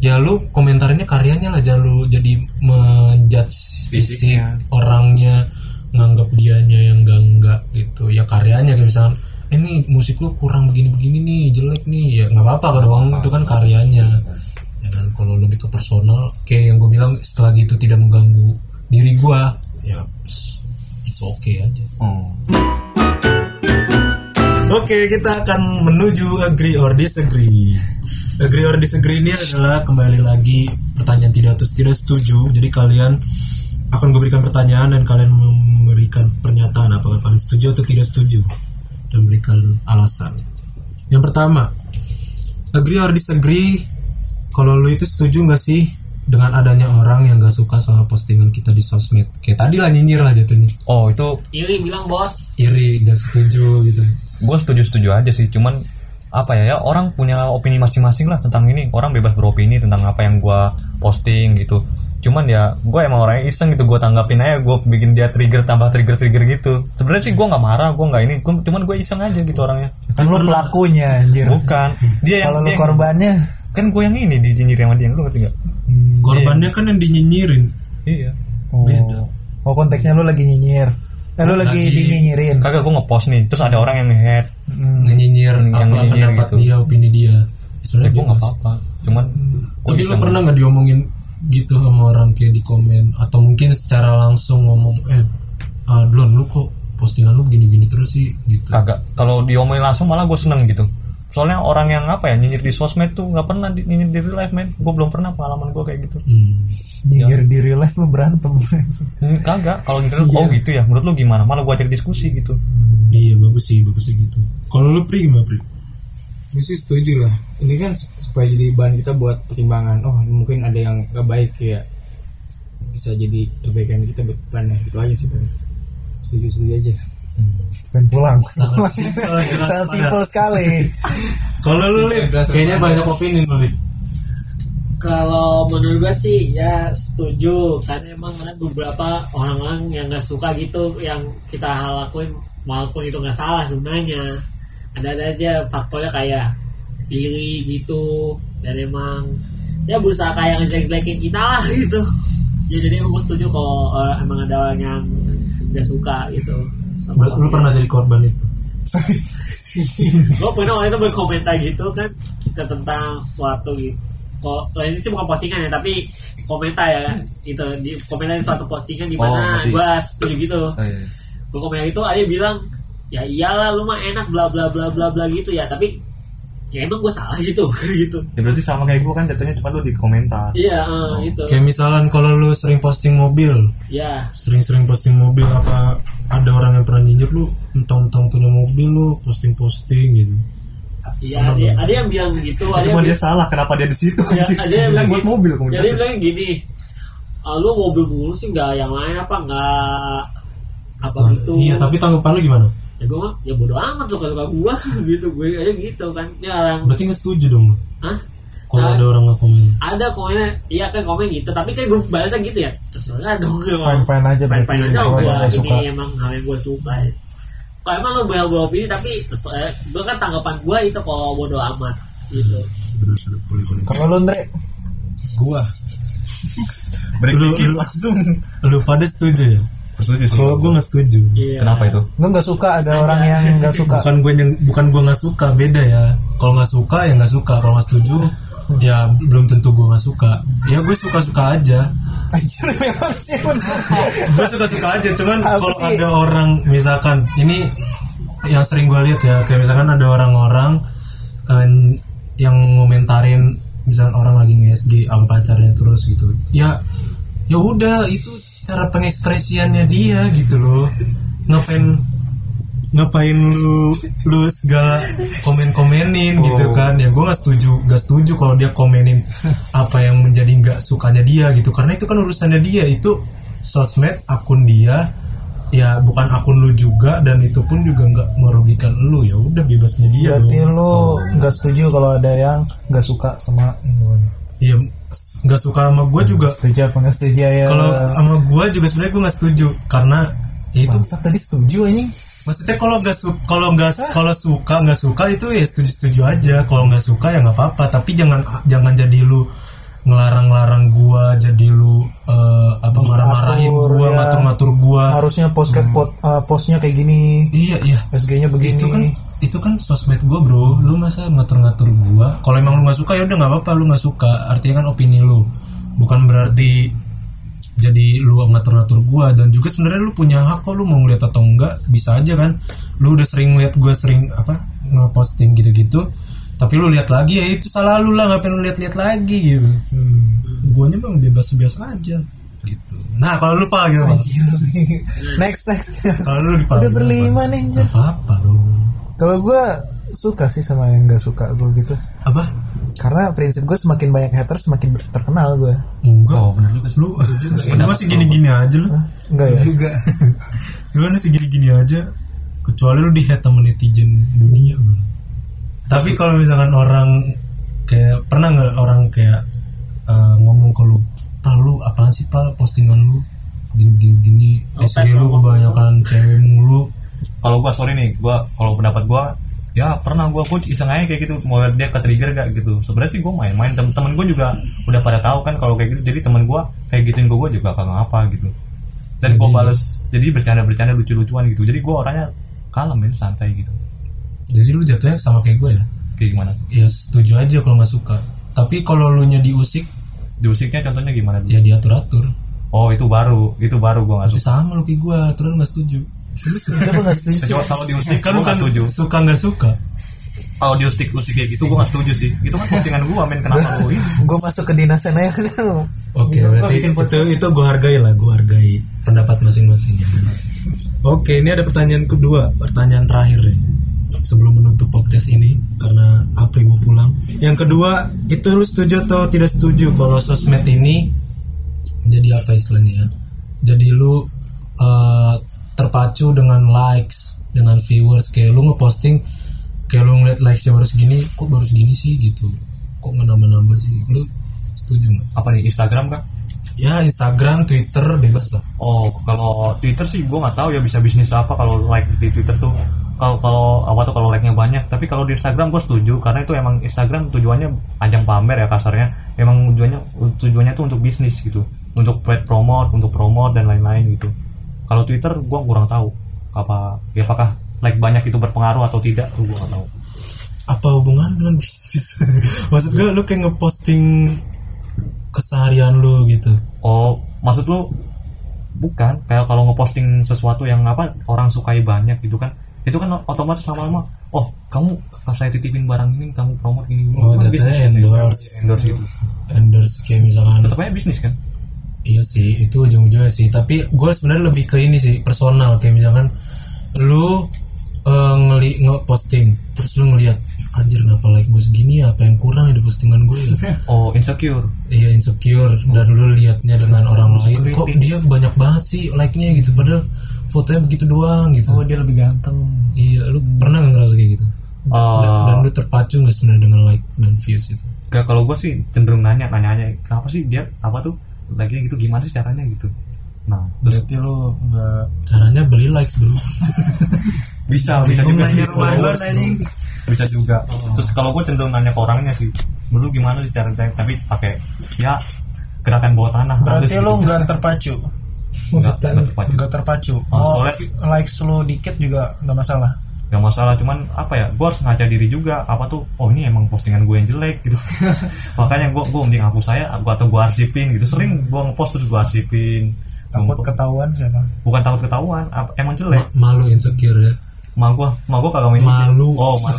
Speaker 2: ya lu komentarnya karyanya lah jangan lu jadi menjudge fisik
Speaker 4: Fisiknya.
Speaker 2: orangnya nganggap dianya yang enggak enggak gitu ya karyanya kayak misalkan "Eh, ini musik lu kurang begini begini nih jelek nih ya nggak apa-apa kan doang itu kan karyanya ya kan kalau lebih ke personal kayak yang gue bilang setelah itu tidak mengganggu diri gue ya pss, it's okay aja
Speaker 4: oh
Speaker 2: Oke, kita akan menuju agree or disagree. Agree or disagree ini adalah kembali lagi pertanyaan tidak atau tidak setuju. Jadi kalian akan gue berikan pertanyaan dan kalian memberikan pernyataan apakah kalian setuju atau tidak setuju dan berikan alasan. Yang pertama, agree or disagree kalau lu itu setuju nggak sih dengan adanya orang yang gak suka sama postingan kita di sosmed kayak tadi lah nyinyir lah jatuhnya
Speaker 4: oh itu
Speaker 3: Iri bilang bos
Speaker 2: iri gak setuju gitu
Speaker 4: gue setuju setuju aja sih cuman apa ya ya orang punya opini masing-masing lah tentang ini orang bebas beropini tentang apa yang gue posting gitu cuman ya gue emang orangnya iseng gitu gue tanggapin aja gue bikin dia trigger tambah trigger trigger gitu sebenarnya sih gue nggak marah gue nggak ini Gua- cuman gue iseng aja gitu orangnya
Speaker 1: kan lu pelakunya anjir
Speaker 4: bukan dia
Speaker 1: Iya.
Speaker 4: yang
Speaker 1: kalau lu
Speaker 4: dia yang-
Speaker 1: korbannya
Speaker 4: kan gue yang ini di nyinyir sama dia lu ngerti nggak
Speaker 2: Korbannya kan yang dinyinyirin.
Speaker 4: iya
Speaker 2: Beda.
Speaker 1: oh, oh konteksnya lu lagi nyinyir eh, lu lagi,
Speaker 2: Lagi.
Speaker 1: dinyinyirin
Speaker 4: kagak gue ngepost nih terus ada orang yang head
Speaker 1: Hmm.
Speaker 2: Nyinyir yang
Speaker 4: Yang
Speaker 2: apa
Speaker 4: nyinyir
Speaker 2: pendapat
Speaker 4: gitu.
Speaker 2: dia, opini dia.
Speaker 1: Iya,
Speaker 2: Sebenarnya
Speaker 4: ya, gue
Speaker 2: dia nggak
Speaker 4: nggak apa-apa cuman gua
Speaker 2: Tapi lu
Speaker 4: iseng.
Speaker 2: pernah nggak diomongin gitu sama orang kayak di komen atau mungkin secara langsung ngomong eh ah, Blon lu kok postingan lu gini-gini terus sih gitu.
Speaker 4: kagak kalau diomongin langsung malah gue seneng gitu soalnya orang yang apa ya nyinyir di sosmed tuh nggak pernah di, nyinyir di real life man gue belum pernah pengalaman gue kayak gitu
Speaker 2: Hmm.
Speaker 1: nyinyir
Speaker 5: Iya.
Speaker 1: di real life lu berantem
Speaker 4: Hmm, kagak kalau nyinyir
Speaker 1: Iya.
Speaker 4: oh gitu ya menurut lu gimana malah gue ajak diskusi gitu
Speaker 2: Iya bagus sih, bagus sih gitu. Kalau lu pri gimana pri?
Speaker 5: Gue sih setuju lah. Ini kan sup- supaya jadi bahan kita buat pertimbangan. Oh mungkin ada yang gak baik ya. Bisa jadi perbaikan kita buat depannya. Itu aja sih. Bang. Setuju setuju aja.
Speaker 1: dan pulang
Speaker 2: Sangat simpel, jelas
Speaker 1: sangat
Speaker 2: padat.
Speaker 1: simpel sekali
Speaker 2: Kalau lu Lip,
Speaker 5: Jelas
Speaker 2: kayaknya
Speaker 5: padat.
Speaker 2: banyak opini lu Lip.
Speaker 3: kalau menurut gue sih ya setuju karena emang ada beberapa orang-orang yang nggak suka gitu yang kita lakuin walaupun itu nggak salah sebenarnya ada ada aja faktornya kayak pilih gitu dan emang ya berusaha kayak ngejek-jekin kita lah gitu ya jadi emang gue setuju kalau eh, emang ada orang yang nggak suka gitu sama
Speaker 2: Lu pernah jadi korban itu?
Speaker 3: gue pernah waktu itu berkomentar gitu kan kita tentang suatu gitu kok eh, ini sih bukan postingan ya tapi komentar ya gitu di komentar di suatu postingan di mana
Speaker 4: Oh, ngerti.
Speaker 3: gue setuju gitu
Speaker 4: Oh, iya.
Speaker 3: gue komentar itu ada yang bilang ya iyalah lu mah enak bla bla bla bla bla gitu ya tapi ya emang gue salah gitu gitu
Speaker 4: ya berarti sama kayak gue kan jatuhnya cuma lu di komentar
Speaker 3: iya eh,
Speaker 4: Oh,
Speaker 3: gitu
Speaker 2: Kayak misalkan kalau lu sering posting mobil,
Speaker 3: ya
Speaker 2: sering-sering posting mobil apa ada ada orang yang pernah nyinyir lu entang-entang punya mobil lu posting-posting gitu
Speaker 3: Iya, ada, ada yang bilang gitu, ada
Speaker 2: iya,
Speaker 4: Itu
Speaker 3: yang
Speaker 4: mah dia
Speaker 3: bilang,
Speaker 4: salah, kenapa dia di situ?
Speaker 3: ya,
Speaker 4: anjing?
Speaker 3: ada yang
Speaker 4: Bilang
Speaker 3: bilang
Speaker 4: buat
Speaker 3: gini-
Speaker 4: mobil
Speaker 3: ya, dia
Speaker 4: komunikasi.
Speaker 3: bilang gini, ah, lu mobil mulu sih nggak yang lain apa nggak apa
Speaker 2: Nah,
Speaker 3: gitu.
Speaker 2: iya tapi tanggapan lu gimana
Speaker 3: ya gue mah ya bodo amat suka suka gue gitu gue aja gitu kan ini orang
Speaker 2: berarti nggak setuju dong lu
Speaker 3: ah
Speaker 2: kalau
Speaker 3: Ah.
Speaker 2: ada orang nggak komen
Speaker 3: ada komennya iya kan komen gitu tapi kan gue balasnya gitu ya terserah dong gue
Speaker 1: fine fine aja
Speaker 3: fine
Speaker 1: berarti
Speaker 3: fine aja
Speaker 1: kalau
Speaker 3: gue
Speaker 1: nggak suka
Speaker 3: ini emang hal yang gue suka ya. kalau emang lo bawa bawa opini tapi terserah gue kan tanggapan gue itu kalau bodo amat gitu
Speaker 1: kalau lu Andre
Speaker 2: gua
Speaker 4: Break
Speaker 2: Lu-
Speaker 4: dikit
Speaker 2: lu-
Speaker 4: langsung.
Speaker 2: lu pada setuju ya
Speaker 4: Persetuju sih.
Speaker 2: kalau gua nggak setuju
Speaker 3: Iya.
Speaker 4: Hmm. Kenapa itu?
Speaker 1: lu nggak suka ada orang yang nggak suka
Speaker 2: bukan gue yang bukan gue nggak suka beda ya kalau nggak suka ya nggak suka kalau nggak setuju ya belum tentu gue nggak suka ya gue suka suka aja
Speaker 1: anjir memang sih bener.
Speaker 2: gue suka suka aja cuman
Speaker 1: Apa
Speaker 2: kalau
Speaker 1: sih?
Speaker 2: ada orang misalkan ini yang sering gue lihat ya kayak misalkan ada orang-orang eh, yang ngomentarin misalkan orang lagi nge-SG sama pacarnya terus gitu ya ya udah itu cara pengekspresiannya dia gitu loh ngapain ngapain lu lu segala komen komenin gitu kan ya gue nggak setuju nggak setuju kalau dia komenin apa yang menjadi nggak sukanya dia gitu karena itu kan urusannya dia itu sosmed akun dia ya bukan akun lu juga dan itu pun juga nggak merugikan lu ya udah bebasnya
Speaker 6: Iya
Speaker 2: dia
Speaker 1: berarti
Speaker 2: dong.
Speaker 1: lu
Speaker 6: Oh.
Speaker 1: nggak setuju kalau ada yang nggak suka sama ini.
Speaker 2: ya nggak suka sama gue juga
Speaker 1: setuju apa nggak setuju Hmm. ya
Speaker 2: kalau sama gue juga sebenarnya gue nggak setuju karena ya itu
Speaker 1: Bangsat, tadi setuju anjing
Speaker 2: Maksudnya kalau nggak su- kalau nggak kalau suka nggak suka itu ya setuju setuju aja. Kalau nggak suka ya nggak apa-apa. Tapi jangan jangan jadi lu ngelarang-larang gua jadi lu eh, apa marah-marahin gua
Speaker 1: ya.
Speaker 2: ngatur-ngatur gua
Speaker 6: Ah.
Speaker 1: harusnya posnya
Speaker 6: Hmm.
Speaker 1: pot, eh, posnya kayak gini
Speaker 2: iya iya
Speaker 1: SG-nya begini
Speaker 2: itu kan itu kan sosmed gua bro lu masa ngatur-ngatur gua kalau emang lu nggak suka ya udah nggak apa-apa lu nggak suka artinya kan opini lu bukan berarti jadi lu ngatur-ngatur gua dan juga sebenarnya lu punya hak kok lu mau ngeliat atau enggak bisa aja kan lu udah sering ngeliat gua sering apa ngeposting gitu-gitu tapi lu lihat lagi ya itu salah lu lah ngapain lu lihat-lihat lagi gitu
Speaker 1: Hmm.
Speaker 2: guanya emang bebas-bebas aja gitu nah kalau lu pak gitu Pak.
Speaker 1: Anjir.
Speaker 6: Hmm.
Speaker 1: next next
Speaker 2: kalau lu Pak,
Speaker 1: udah
Speaker 2: gimana,
Speaker 1: berlima
Speaker 2: Pak?
Speaker 1: nih anjir.
Speaker 2: Nggak apa-apa dong
Speaker 1: kalau gue suka sih sama yang nggak suka gue gitu
Speaker 2: apa
Speaker 1: karena prinsip gue semakin banyak haters semakin ber- terkenal gue
Speaker 2: Enggak, Oh, bener juga Lu, lu masih gini-gini aja lu
Speaker 1: enggak ya
Speaker 5: juga
Speaker 2: Lu masih gini-gini aja Kecuali lu di hate sama netizen dunia bro. Tapi kalau misalkan orang Kayak, pernah nggak orang kayak eh, Ngomong ke lu Pal, lu apaan sih pal postingan lu Gini-gini SG lu kebanyakan cewek mulu
Speaker 4: Kalau gua sorry nih, gua kalau pendapat gua ya pernah gua gua iseng aja kayak gitu mau lihat dia ke trigger gak gitu sebenarnya sih gua main-main temen-temen gua juga udah pada tahu kan kalau kayak gitu jadi temen gua kayak gituin gua gua juga kagak apa gitu dan gua bales jadi bercanda-bercanda lucu-lucuan gitu jadi gua orangnya kalem men santai gitu
Speaker 2: Jadi lu jatuhnya sama kayak gue ya
Speaker 4: kayak gimana
Speaker 2: Ya setuju aja kalau nggak suka Tapi kalau lu nya diusik
Speaker 4: diusiknya contohnya gimana dulu
Speaker 2: Ya diatur-atur
Speaker 4: oh itu baru itu baru gua nggak
Speaker 2: Itu
Speaker 4: suka
Speaker 2: sama lu kayak gue Terus nggak setuju
Speaker 1: kenapa nggak setuju sih?
Speaker 4: Kecuali kalau diusik
Speaker 2: Kan
Speaker 4: gua
Speaker 2: lu
Speaker 4: nggak
Speaker 2: kan
Speaker 4: setuju
Speaker 2: suka nggak suka
Speaker 4: kalau diusik usik kayak gitu gua nggak setuju sih itu kan postingan gua men kenapa lu ini
Speaker 1: gue masuk ke dinasan aja kan
Speaker 2: Oke, berarti itu itu gue hargai lah, gue hargai pendapat masing-masing. ya. Oke, ini ada pertanyaan kedua, pertanyaan terakhir nih. Sebelum menutup podcast ini karena Apri mau pulang. Yang kedua, itu lu setuju atau tidak setuju kalau sosmed ini jadi apa istilahnya ya? Jadi lu eh, terpacu dengan likes, dengan viewers kayak lu ngeposting kayak lu ngeliat likesnya baru segini, kok baru segini sih gitu. Kok nggak nambah-nambah sih? Lu setuju nggak?
Speaker 4: apa nih Instagram kah
Speaker 2: Ya Instagram, Twitter bebas lah.
Speaker 4: Oh, kalau Twitter sih gue nggak tahu ya bisa bisnis apa kalau like di Twitter tuh. Kalau kalau apa tuh kalau like-nya banyak. Tapi kalau di Instagram gue setuju karena itu emang Instagram tujuannya ajang pamer ya kasarnya. Emang tujuannya tujuannya tuh untuk bisnis gitu, untuk paid promote, untuk promote dan lain-lain gitu. Kalau Twitter gue kurang tahu apa ya apakah like banyak itu berpengaruh atau tidak gue nggak tahu.
Speaker 2: Apa hubungan dengan bisnis? Maksud gue lu kayak ngeposting keseharian lu gitu.
Speaker 4: Oh, maksud lu bukan kayak kalau ngeposting sesuatu yang apa orang sukai banyak gitu kan. Itu kan otomatis lama-lama oh, kamu saya titipin barang ini, kamu promote gini. gini."
Speaker 2: Oh,
Speaker 4: itu kan
Speaker 2: jatuhnya
Speaker 4: kan,
Speaker 2: endorse. Hmm.
Speaker 4: endorse gitu.
Speaker 2: Endorse kayak misalkan
Speaker 4: Tetap aja bisnis kan?
Speaker 2: Iya sih, itu ujung-ujungnya sih. Tapi gue sebenarnya lebih ke ini sih personal. Kayak misalkan lu eh, ngeli ngeposting, terus lu ngeliat anjir kenapa like gue segini ya? Apa yang kurang ya di postingan gue ya?
Speaker 4: oh insecure
Speaker 2: Iya insecure dan lu liatnya dengan orang lain kok dia banyak banget sih like-nya gitu padahal fotonya begitu doang gitu.
Speaker 6: oh dia lebih ganteng
Speaker 2: Iya, lu pernah nggak ngerasa kayak gitu? Dan,
Speaker 7: Ah.
Speaker 4: Eh,
Speaker 2: dan lu terpacu nggak sebenarnya dengan like dan views itu?
Speaker 4: Gak ya kalau gue sih cenderung nanya nanya nanya kenapa sih dia apa tuh lagi gitu gimana sih caranya gitu nah terus
Speaker 6: berarti lo nggak
Speaker 2: Caranya beli likes bro.
Speaker 4: bisa bisa juga sih
Speaker 6: rumah
Speaker 4: Kalau gua
Speaker 6: duluan, anjing.
Speaker 4: bisa juga terus kalau gue cenderung nanya ke orangnya sih dulu gimana sih cara caranya tapi pakai ya gerakan bawah tanah
Speaker 6: berarti
Speaker 4: halus
Speaker 6: lo
Speaker 4: gitu.
Speaker 6: nggak terpacu
Speaker 4: nggak nggak terpacu
Speaker 6: nggak terpacu
Speaker 4: Oh,
Speaker 6: oh,
Speaker 4: soalnya-
Speaker 6: likes lo dikit juga nggak masalah
Speaker 4: nggak masalah cuman apa ya gue harus ngaca diri juga apa tuh oh ini emang postingan gue yang jelek gitu makanya gue gue mending aku saya gua atau gue arsipin gitu sering gue ngepost terus gue arsipin
Speaker 6: takut
Speaker 4: Gua-
Speaker 6: ketahuan siapa
Speaker 4: bukan takut ketahuan apa- emang jelek
Speaker 2: Ma- malu insecure ya.
Speaker 4: Ma gua, ma gua kagak main
Speaker 2: Malu.
Speaker 4: Oh, malu.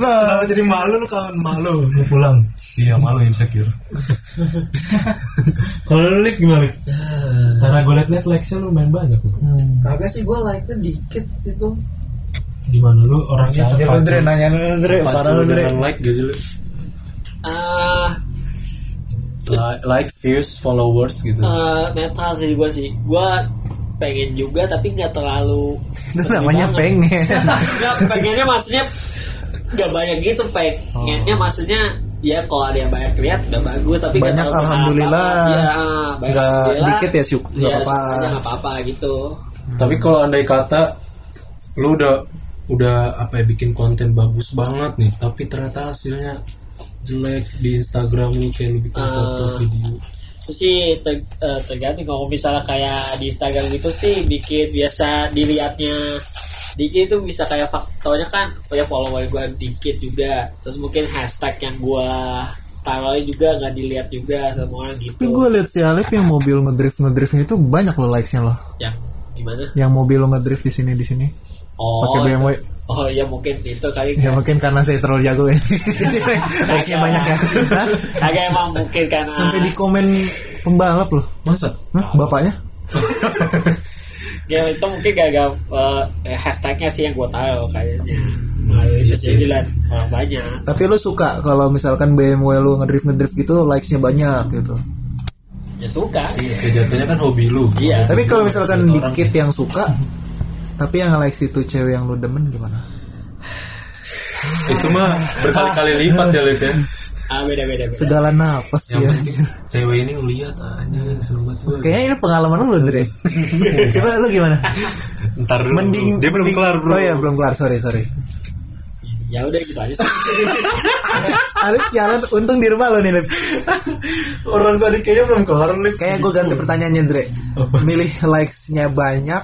Speaker 6: Kenapa jadi malu lu kangen malu
Speaker 2: Mau pulang.
Speaker 4: iya, malu insecure.
Speaker 2: Kalau lu lihat gimana?
Speaker 7: Eh.
Speaker 2: Secara gue liat liat likesnya lu main banyak lu.
Speaker 7: Hmm.
Speaker 1: Kagak sih gue like-nya dikit itu.
Speaker 2: Gimana lu orangnya
Speaker 1: Lu Dre
Speaker 7: nah.
Speaker 1: nanya lu Dre, parah lu Dre.
Speaker 7: like gak sih lu?
Speaker 3: Eh,
Speaker 7: Li- Like, views, followers gitu.
Speaker 1: Ah.
Speaker 3: eh, netral sih gue sih gue pengen juga tapi nggak terlalu
Speaker 1: Itu namanya pengen.
Speaker 3: nggak pengennya maksudnya nggak banyak gitu pengennya
Speaker 1: Oh.
Speaker 3: maksudnya ya kalau ada yang banyak lihat udah bagus tapi nggak
Speaker 1: Banyak,
Speaker 3: terlalu berharap
Speaker 1: alhamdulillah.
Speaker 3: banget. ya, banyak
Speaker 1: Nggak
Speaker 3: alhamdulillah.
Speaker 1: dikit ya, syukur, nggak
Speaker 3: Ya,
Speaker 1: apa-apa.
Speaker 3: syukurnya nggak apa-apa gitu
Speaker 7: Tapi kalau andai kata lu udah udah apa ya bikin konten bagus banget nih, tapi ternyata hasilnya jelek di Instagram lu kayak lu
Speaker 1: Eh.
Speaker 7: bikin foto
Speaker 3: Ah.
Speaker 7: video.
Speaker 3: terus sih ter- eh, tergantung kalau misalnya kayak di Instagram gitu sih bikin biasa dilihatnya dikit itu bisa kayak faktornya kan ya follower gue dikit juga terus mungkin hashtag yang gue taruhnya juga nggak dilihat juga sama orang gitu
Speaker 1: Tapi gue liat si Alif yang mobil ngedrift ngedriftnya itu banyak lo likesnya loh.
Speaker 3: yang Ya, gimana
Speaker 1: Yang mobil lo ngedrift di sini di sini.
Speaker 3: oh
Speaker 1: Pakai BMW.
Speaker 3: Oh ya mungkin itu kali
Speaker 1: Ya
Speaker 3: ya.
Speaker 1: mungkin karena saya terlalu jago ya. Jadi, Likesnya banyak ya. Hah?
Speaker 3: Agak emang mungkin karena
Speaker 1: Sampai di komen pembalap loh.
Speaker 7: Masa?
Speaker 1: Hah, bapaknya?
Speaker 3: ya, itu mungkin gagal eh, hashtagnya sih yang gue tahu kayaknya.
Speaker 1: Hmm.
Speaker 3: Nah,
Speaker 1: Iya
Speaker 3: itu jadi lah orang banyak.
Speaker 1: Tapi lo suka kalau misalkan BMW lo ngedrift ngedrift gitu likesnya banyak gitu.
Speaker 3: Ya suka. Iya.
Speaker 7: Ya jatuhnya kan hobi lu.
Speaker 3: Iya.
Speaker 1: Tapi kalau misalkan dikit yang suka, tapi yang likes itu cewek yang lo demen gimana?
Speaker 7: Itu mah berkali-kali lipat ya lu
Speaker 1: Iya.
Speaker 7: ya.
Speaker 3: Ah beda beda. beda.
Speaker 1: Segala nafas ya.
Speaker 7: Cewek ini ngeliat aja
Speaker 1: Iya.
Speaker 7: seneng banget gua.
Speaker 1: Kayaknya ini pengalaman lo Dre. Coba lo gimana?
Speaker 7: Ntar dulu.
Speaker 1: Mending
Speaker 7: dia belum kelar bro.
Speaker 1: Oh ya belum kelar, sorry sorry.
Speaker 3: Ya udah gitu aja sih.
Speaker 1: Alif jalan untung di rumah lo nih Lip.
Speaker 7: Orang tadi kayaknya belum kelar nih.
Speaker 1: Kayaknya gue ganti pertanyaannya Dre. Milih likes-nya banyak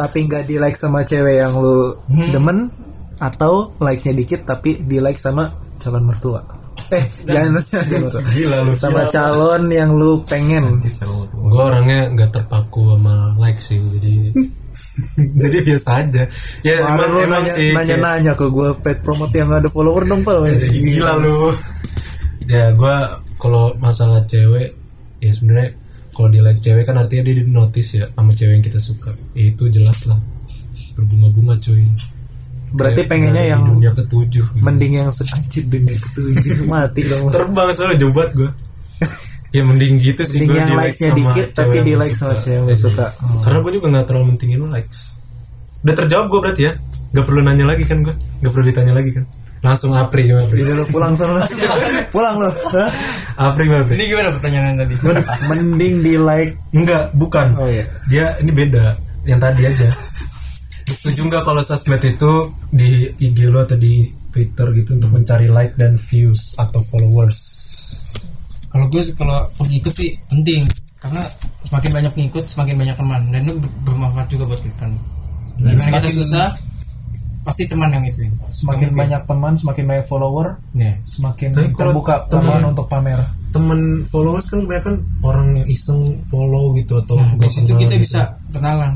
Speaker 1: tapi nggak di like sama cewek yang lu demen atau likes-nya dikit tapi di like sama calon mertua. Eh, jangan jangan mertua. sama
Speaker 2: Iya.
Speaker 1: calon yang lu pengen.
Speaker 4: gitu.
Speaker 2: Gue orangnya nggak terpaku sama like sih jadi jadi biasa aja. Ya
Speaker 1: Kemarin lu nanya, nanya-nanya ke gue pet promote yang ada follower dong Pal.
Speaker 2: gila lu ya gue kalau masalah cewek ya sebenarnya kalau di like cewek kan artinya dia di notice ya sama cewek yang kita suka ya, itu jelas lah berbunga-bunga cuy
Speaker 1: Berarti
Speaker 2: Kayak
Speaker 1: pengennya
Speaker 2: berada di
Speaker 1: yang
Speaker 2: dunia ketujuh gitu.
Speaker 1: mending yang se- anjir dunia ketujuh mati dong.
Speaker 2: terbang soalnya jauh banget gue ya mending gitu sih
Speaker 1: Mending
Speaker 2: gua
Speaker 1: yang
Speaker 2: di-like
Speaker 1: likes-nya
Speaker 2: sama
Speaker 1: dikit,
Speaker 2: cewek
Speaker 1: tapi
Speaker 2: yang gua
Speaker 1: di-like sama
Speaker 2: suka.
Speaker 1: cewek yang gua
Speaker 2: Iya.
Speaker 1: suka. Oh.
Speaker 2: karena gue juga nggak terlalu mentingin likes udah terjawab gue berarti ya nggak perlu nanya lagi kan gue nggak perlu ditanya lagi kan langsung apri gimana apri
Speaker 1: Jadi lu pulang sana. pulang lu. Hah?
Speaker 2: apri gimana apri
Speaker 5: Ini gimana pertanyaan yang tadi?
Speaker 1: Mending di like.
Speaker 2: enggak bukan
Speaker 1: Oh iya.
Speaker 2: dia ini beda yang tadi aja setuju nggak kalau sosmed itu di IG lo atau di Twitter gitu untuk mencari like dan views atau followers
Speaker 5: Kalau gue sih- kalau pengikut sih penting karena semakin banyak pengikut semakin banyak teman dan itu ber- bermanfaat juga buat ke depan. Gimana kita susah pasti teman yang itu.
Speaker 6: semakin banyak teman semakin banyak follower
Speaker 5: Ya.
Speaker 6: semakin
Speaker 2: Tapi kalau
Speaker 6: terbuka
Speaker 2: teman-
Speaker 6: teman untuk pamer
Speaker 2: temen followers kan kebanyakan orang kan yang iseng follow gitu atau
Speaker 5: Nah,
Speaker 2: nggak
Speaker 5: di situ
Speaker 2: kenal
Speaker 5: kita
Speaker 2: gitu.
Speaker 5: bisa kenalan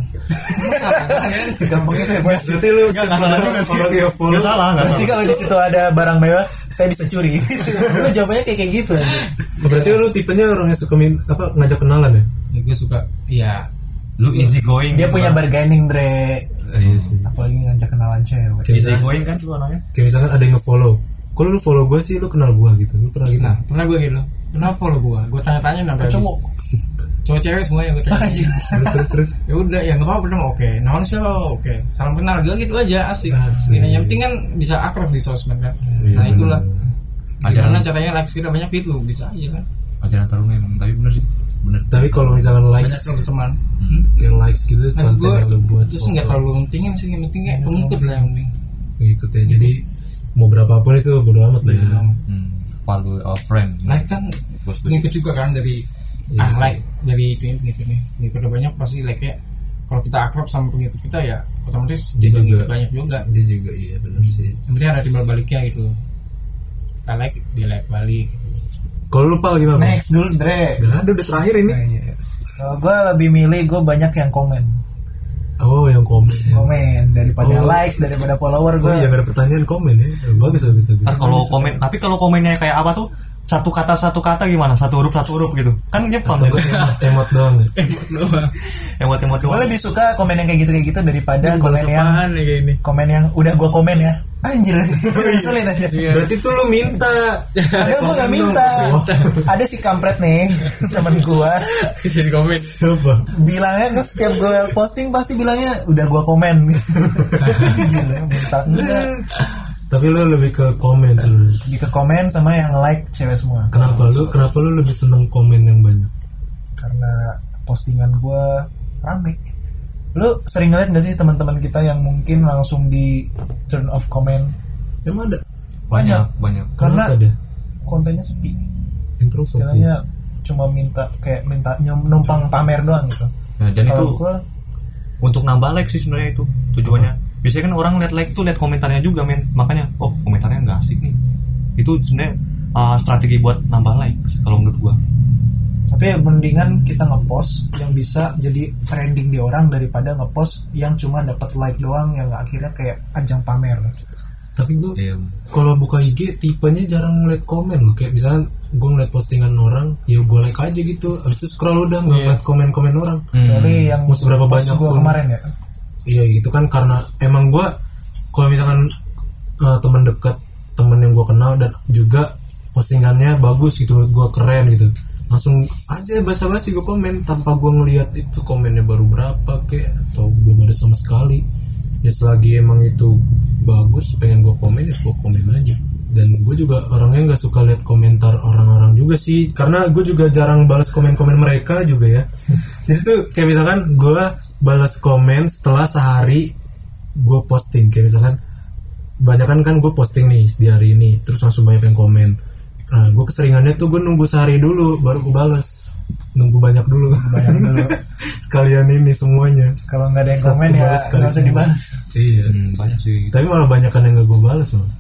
Speaker 8: segampang itu ya bos
Speaker 4: Berarti lu nggak nggak salah juga sih. Nggak salah nggak
Speaker 1: Berarti
Speaker 4: salah.
Speaker 1: kalau di situ ada barang mewah, saya bisa curi. Lu jawabannya kayak kayak gitu. anjing.
Speaker 2: Oh, Berarti lu tipenya orang yang suka min, apa ngajak kenalan ya?
Speaker 5: ya, gue suka ya
Speaker 4: Lu easy going.
Speaker 1: Dia punya bargaining Dre.
Speaker 2: iya sih.
Speaker 1: Apalagi ngajak kenalan cewek.
Speaker 2: Kayak
Speaker 4: easy
Speaker 2: misalkan,
Speaker 4: going kan sih namanya.
Speaker 2: kayak misalkan ada yang nge-follow. Kalau lu follow gue sih lu kenal gue gitu. Lu pernah gitu?
Speaker 5: nah pernah gue gitu kenapa lo gue gue tanya-tanya sampai habis.
Speaker 1: Cowok.
Speaker 5: cowok cewek semuanya gue tanya
Speaker 2: Terus terus terus.
Speaker 5: ya udah ya nggak apa-apa dong oke naon sih lo oke salam kenal gue gitu aja asik
Speaker 2: Asik.
Speaker 5: Gini, yang penting kan bisa akrab di sosmed kan
Speaker 2: Iya,
Speaker 5: nah itulah
Speaker 4: Ada
Speaker 5: gimana caranya likes kita banyak itu bisa aja kan
Speaker 4: ajaran tarung emang tapi bener sih. Bener.
Speaker 2: Tapi kalau misalkan
Speaker 5: banyak
Speaker 2: likes,
Speaker 5: lo berteman
Speaker 2: kayak likes gitu
Speaker 5: nah
Speaker 2: konten
Speaker 5: gue
Speaker 2: yang lu buat.
Speaker 5: itu sih nggak
Speaker 2: follow.
Speaker 5: terlalu pentingin sih yang penting kayak pengikut lah yang penting
Speaker 2: Ngikut ya. Jadi mau berapa pun itu bodo amat lah ya.
Speaker 4: Hmm. Nah, Value of friend.
Speaker 5: like kan
Speaker 4: Gua setuju.
Speaker 5: ngikut juga kan dari
Speaker 2: Iya
Speaker 5: ah,
Speaker 2: sih.
Speaker 5: like dari itu ngikut nih ngikut udah banyak pasti like nya kalau kita akrab sama pengikut kita ya otomatis
Speaker 2: Dia
Speaker 5: juga
Speaker 2: juga.
Speaker 5: ngikut banyak juga
Speaker 2: Dia juga iya benar sih.
Speaker 5: yang penting ada timbal baliknya gitu kita like dia like balik
Speaker 2: Kalau lu pal gimana?
Speaker 1: Next dulu Dre. Iya,
Speaker 2: Gak ada udah terakhir ini.
Speaker 1: Kalau gue lebih milih gue banyak yang komen,
Speaker 2: Oh yang komen. ya.
Speaker 1: komen daripada
Speaker 2: Oh.
Speaker 1: likes daripada follower
Speaker 2: Oh
Speaker 1: gue.
Speaker 2: iya ada pertanyaan komen ya. Bagus bagus bagus.
Speaker 4: Ntar kalau komen, tapi kalau komennya kayak apa tuh? Satu kata satu kata gimana? Satu huruf satu huruf gitu. Kan Jepang
Speaker 2: Atau
Speaker 4: ya.
Speaker 2: gue emot, emot doang ya.
Speaker 4: Emot emot
Speaker 1: Gue
Speaker 4: doang.
Speaker 1: lebih suka komen yang kayak gitu-kayak gitu daripada komen
Speaker 5: Balas
Speaker 1: yang
Speaker 5: apaan nih kayak ini
Speaker 1: komen yang udah gue komen ya. Anjir,
Speaker 2: Oh, iya.
Speaker 1: ngeselin aja.
Speaker 2: Berarti tuh lu minta.
Speaker 1: Padahal gue gak minta.
Speaker 2: Oh.
Speaker 1: Ada si kampret nih temen gue.
Speaker 5: jadi komen
Speaker 2: Coba.
Speaker 1: Bilangnya tuh setiap gue posting pasti bilangnya udah gue komen. Anjir, ya, minta enggak.
Speaker 2: Tapi lu lebih ke komen sebenarnya.
Speaker 1: Di ke komen sama yang like cewek semua.
Speaker 2: Kenapa lu kenapa lu lebih seneng komen yang banyak?
Speaker 1: karena postingan gue rame lu sering ngeliat gak sih teman-teman kita yang mungkin langsung di turn off comment
Speaker 2: Emang ada?
Speaker 4: Banyak banyak.
Speaker 1: karena
Speaker 2: Kenapa dia?
Speaker 1: kontennya sepi
Speaker 2: Introvert. ya?
Speaker 1: istilahnya cuma minta kayak minta nyom- numpang pamer doang gitu
Speaker 4: Nah, dan itu
Speaker 1: kalau gue
Speaker 4: untuk nambah like sih sebenarnya itu tujuannya. Biasanya kan orang lihat like tuh lihat komentarnya juga men. Makanya oh komentarnya nggak asik nih. Itu sebenarnya uh, strategi buat nambah like kalau menurut gua.
Speaker 1: tapi mendingan kita ngepost yang bisa jadi trending di orang daripada ngepost yang cuma dapat like doang yang akhirnya kayak ajang pamer
Speaker 2: Tapi
Speaker 4: Iya.
Speaker 2: gue kalau buka IG tipenya jarang ngeliat komen loh. Kayak misalkan gue ngeliat postingan orang, ya gue like aja gitu. Habis itu scroll udah nggak ngeliat komen-komen orang.
Speaker 1: Kecuali yang
Speaker 2: Mau seberapa banyak
Speaker 1: gue
Speaker 2: pun.
Speaker 1: kemarin ya
Speaker 2: Iya itu kan karena emang gue kalau misalkan eh, teman dekat temen yang gue kenal dan juga postingannya bagus gitu menurut gue keren gitu langsung aja basa-basi gue komen tanpa gue ngelihat itu komennya baru berapa kek atau belum ada sama sekali ya selagi emang itu bagus pengen gue komen ya gue komen aja dan gue juga orangnya nggak suka lihat komentar orang-orang juga sih karena gue juga jarang balas komen-komen mereka juga ya jadi tuh kayak misalkan gue balas komen setelah sehari gue posting kayak misalkan banyak kan kan gue posting nih di hari ini terus langsung banyak yang komen nah gue keseringannya tuh gue nunggu sehari dulu baru gue balas nunggu banyak dulu banyak dulu sekalian ini semuanya
Speaker 1: kalau nggak ada yang komen
Speaker 2: Satu
Speaker 1: ya
Speaker 2: balas sekali
Speaker 1: nggak usah
Speaker 2: semua.
Speaker 1: dibahas
Speaker 2: iya
Speaker 4: banyak sih.
Speaker 2: tapi malah banyakkan yang gak gue balas malah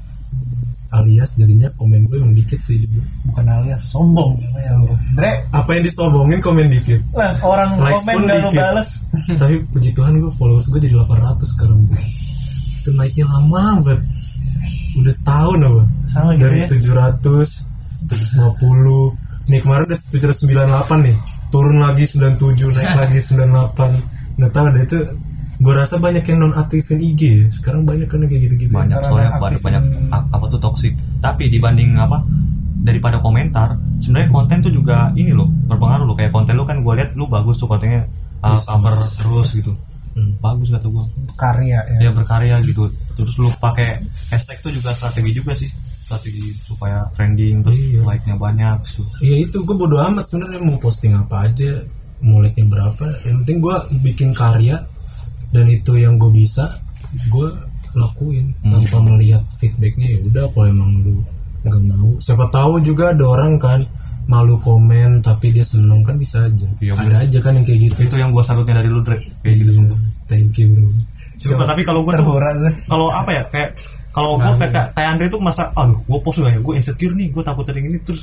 Speaker 2: alias jadinya komen gue yang dikit sih
Speaker 1: bukan alias sombong namanya lu. Dre
Speaker 2: apa yang disobongin komen dikit
Speaker 1: lah orang
Speaker 2: Likes
Speaker 1: komen
Speaker 2: pun
Speaker 1: gak lu
Speaker 2: dikit.
Speaker 1: bales
Speaker 2: tapi puji Tuhan gue followers gue jadi 800 sekarang itu naiknya lama banget udah setahun apa
Speaker 1: Sama gitu
Speaker 2: dari
Speaker 1: ya?
Speaker 2: 700 750 nih kemarin udah 798 nih turun lagi 97 naik lagi 98 nggak tahu deh itu gue rasa banyak yang non aktifin IG ya. sekarang banyak kan yang kayak gitu-gitu ya.
Speaker 4: banyak soalnya banyak banyak a- apa tuh toksik tapi dibanding apa daripada komentar sebenarnya konten tuh juga ini loh berpengaruh loh kayak konten lu kan gue lihat lu bagus tuh kontennya uh, cover terus gitu bagus kata gue
Speaker 1: karya ya
Speaker 4: ya berkarya gitu terus lu pakai hashtag tuh juga strategi juga sih strategi supaya trending terus
Speaker 2: Iya.
Speaker 4: like nya banyak gitu
Speaker 2: ya itu gue bodo amat sebenarnya mau posting apa aja mau like nya berapa yang penting gue bikin karya dan itu yang gue bisa gue lakuin
Speaker 4: Hmm.
Speaker 2: tanpa melihat feedbacknya ya udah kalau emang lu nggak mau siapa tahu juga ada orang kan malu komen tapi dia seneng kan bisa aja
Speaker 4: Iya,
Speaker 2: ada aja kan yang kayak gitu
Speaker 4: itu yang gue salutnya dari lu Dre kayak gitu sumpah
Speaker 2: thank you bro
Speaker 4: Sumpah, tapi kalau gue tuh
Speaker 1: terhora gue
Speaker 4: kalau apa ya kayak kalau gue
Speaker 2: Nah.
Speaker 4: kayak kayak- kayak Andre tuh merasa aduh gue post gak ya gue insecure nih gue takut ada yang ini terus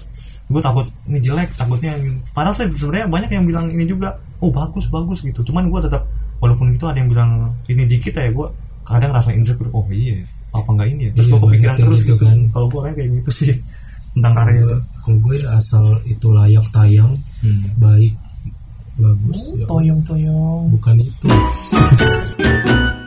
Speaker 4: gue takut ini jelek takutnya yang ini." padahal saya sebenarnya banyak yang bilang ini juga oh bagus bagus gitu cuman gue tetap walaupun itu ada yang bilang ini dikit ya gue kadang rasa insecure oh iya ya. apa enggak ini ya terus
Speaker 2: Iya,
Speaker 4: gue kepikiran
Speaker 2: banyak yang
Speaker 4: terus
Speaker 2: gitu
Speaker 4: gitu,
Speaker 2: kan.
Speaker 4: kalau gue orangnya kayak gitu sih tentang karya itu
Speaker 2: Gua- kalau gue asal itu layak tayang baik bagus ya
Speaker 4: Oh.
Speaker 9: toyong toyong
Speaker 2: bukan itu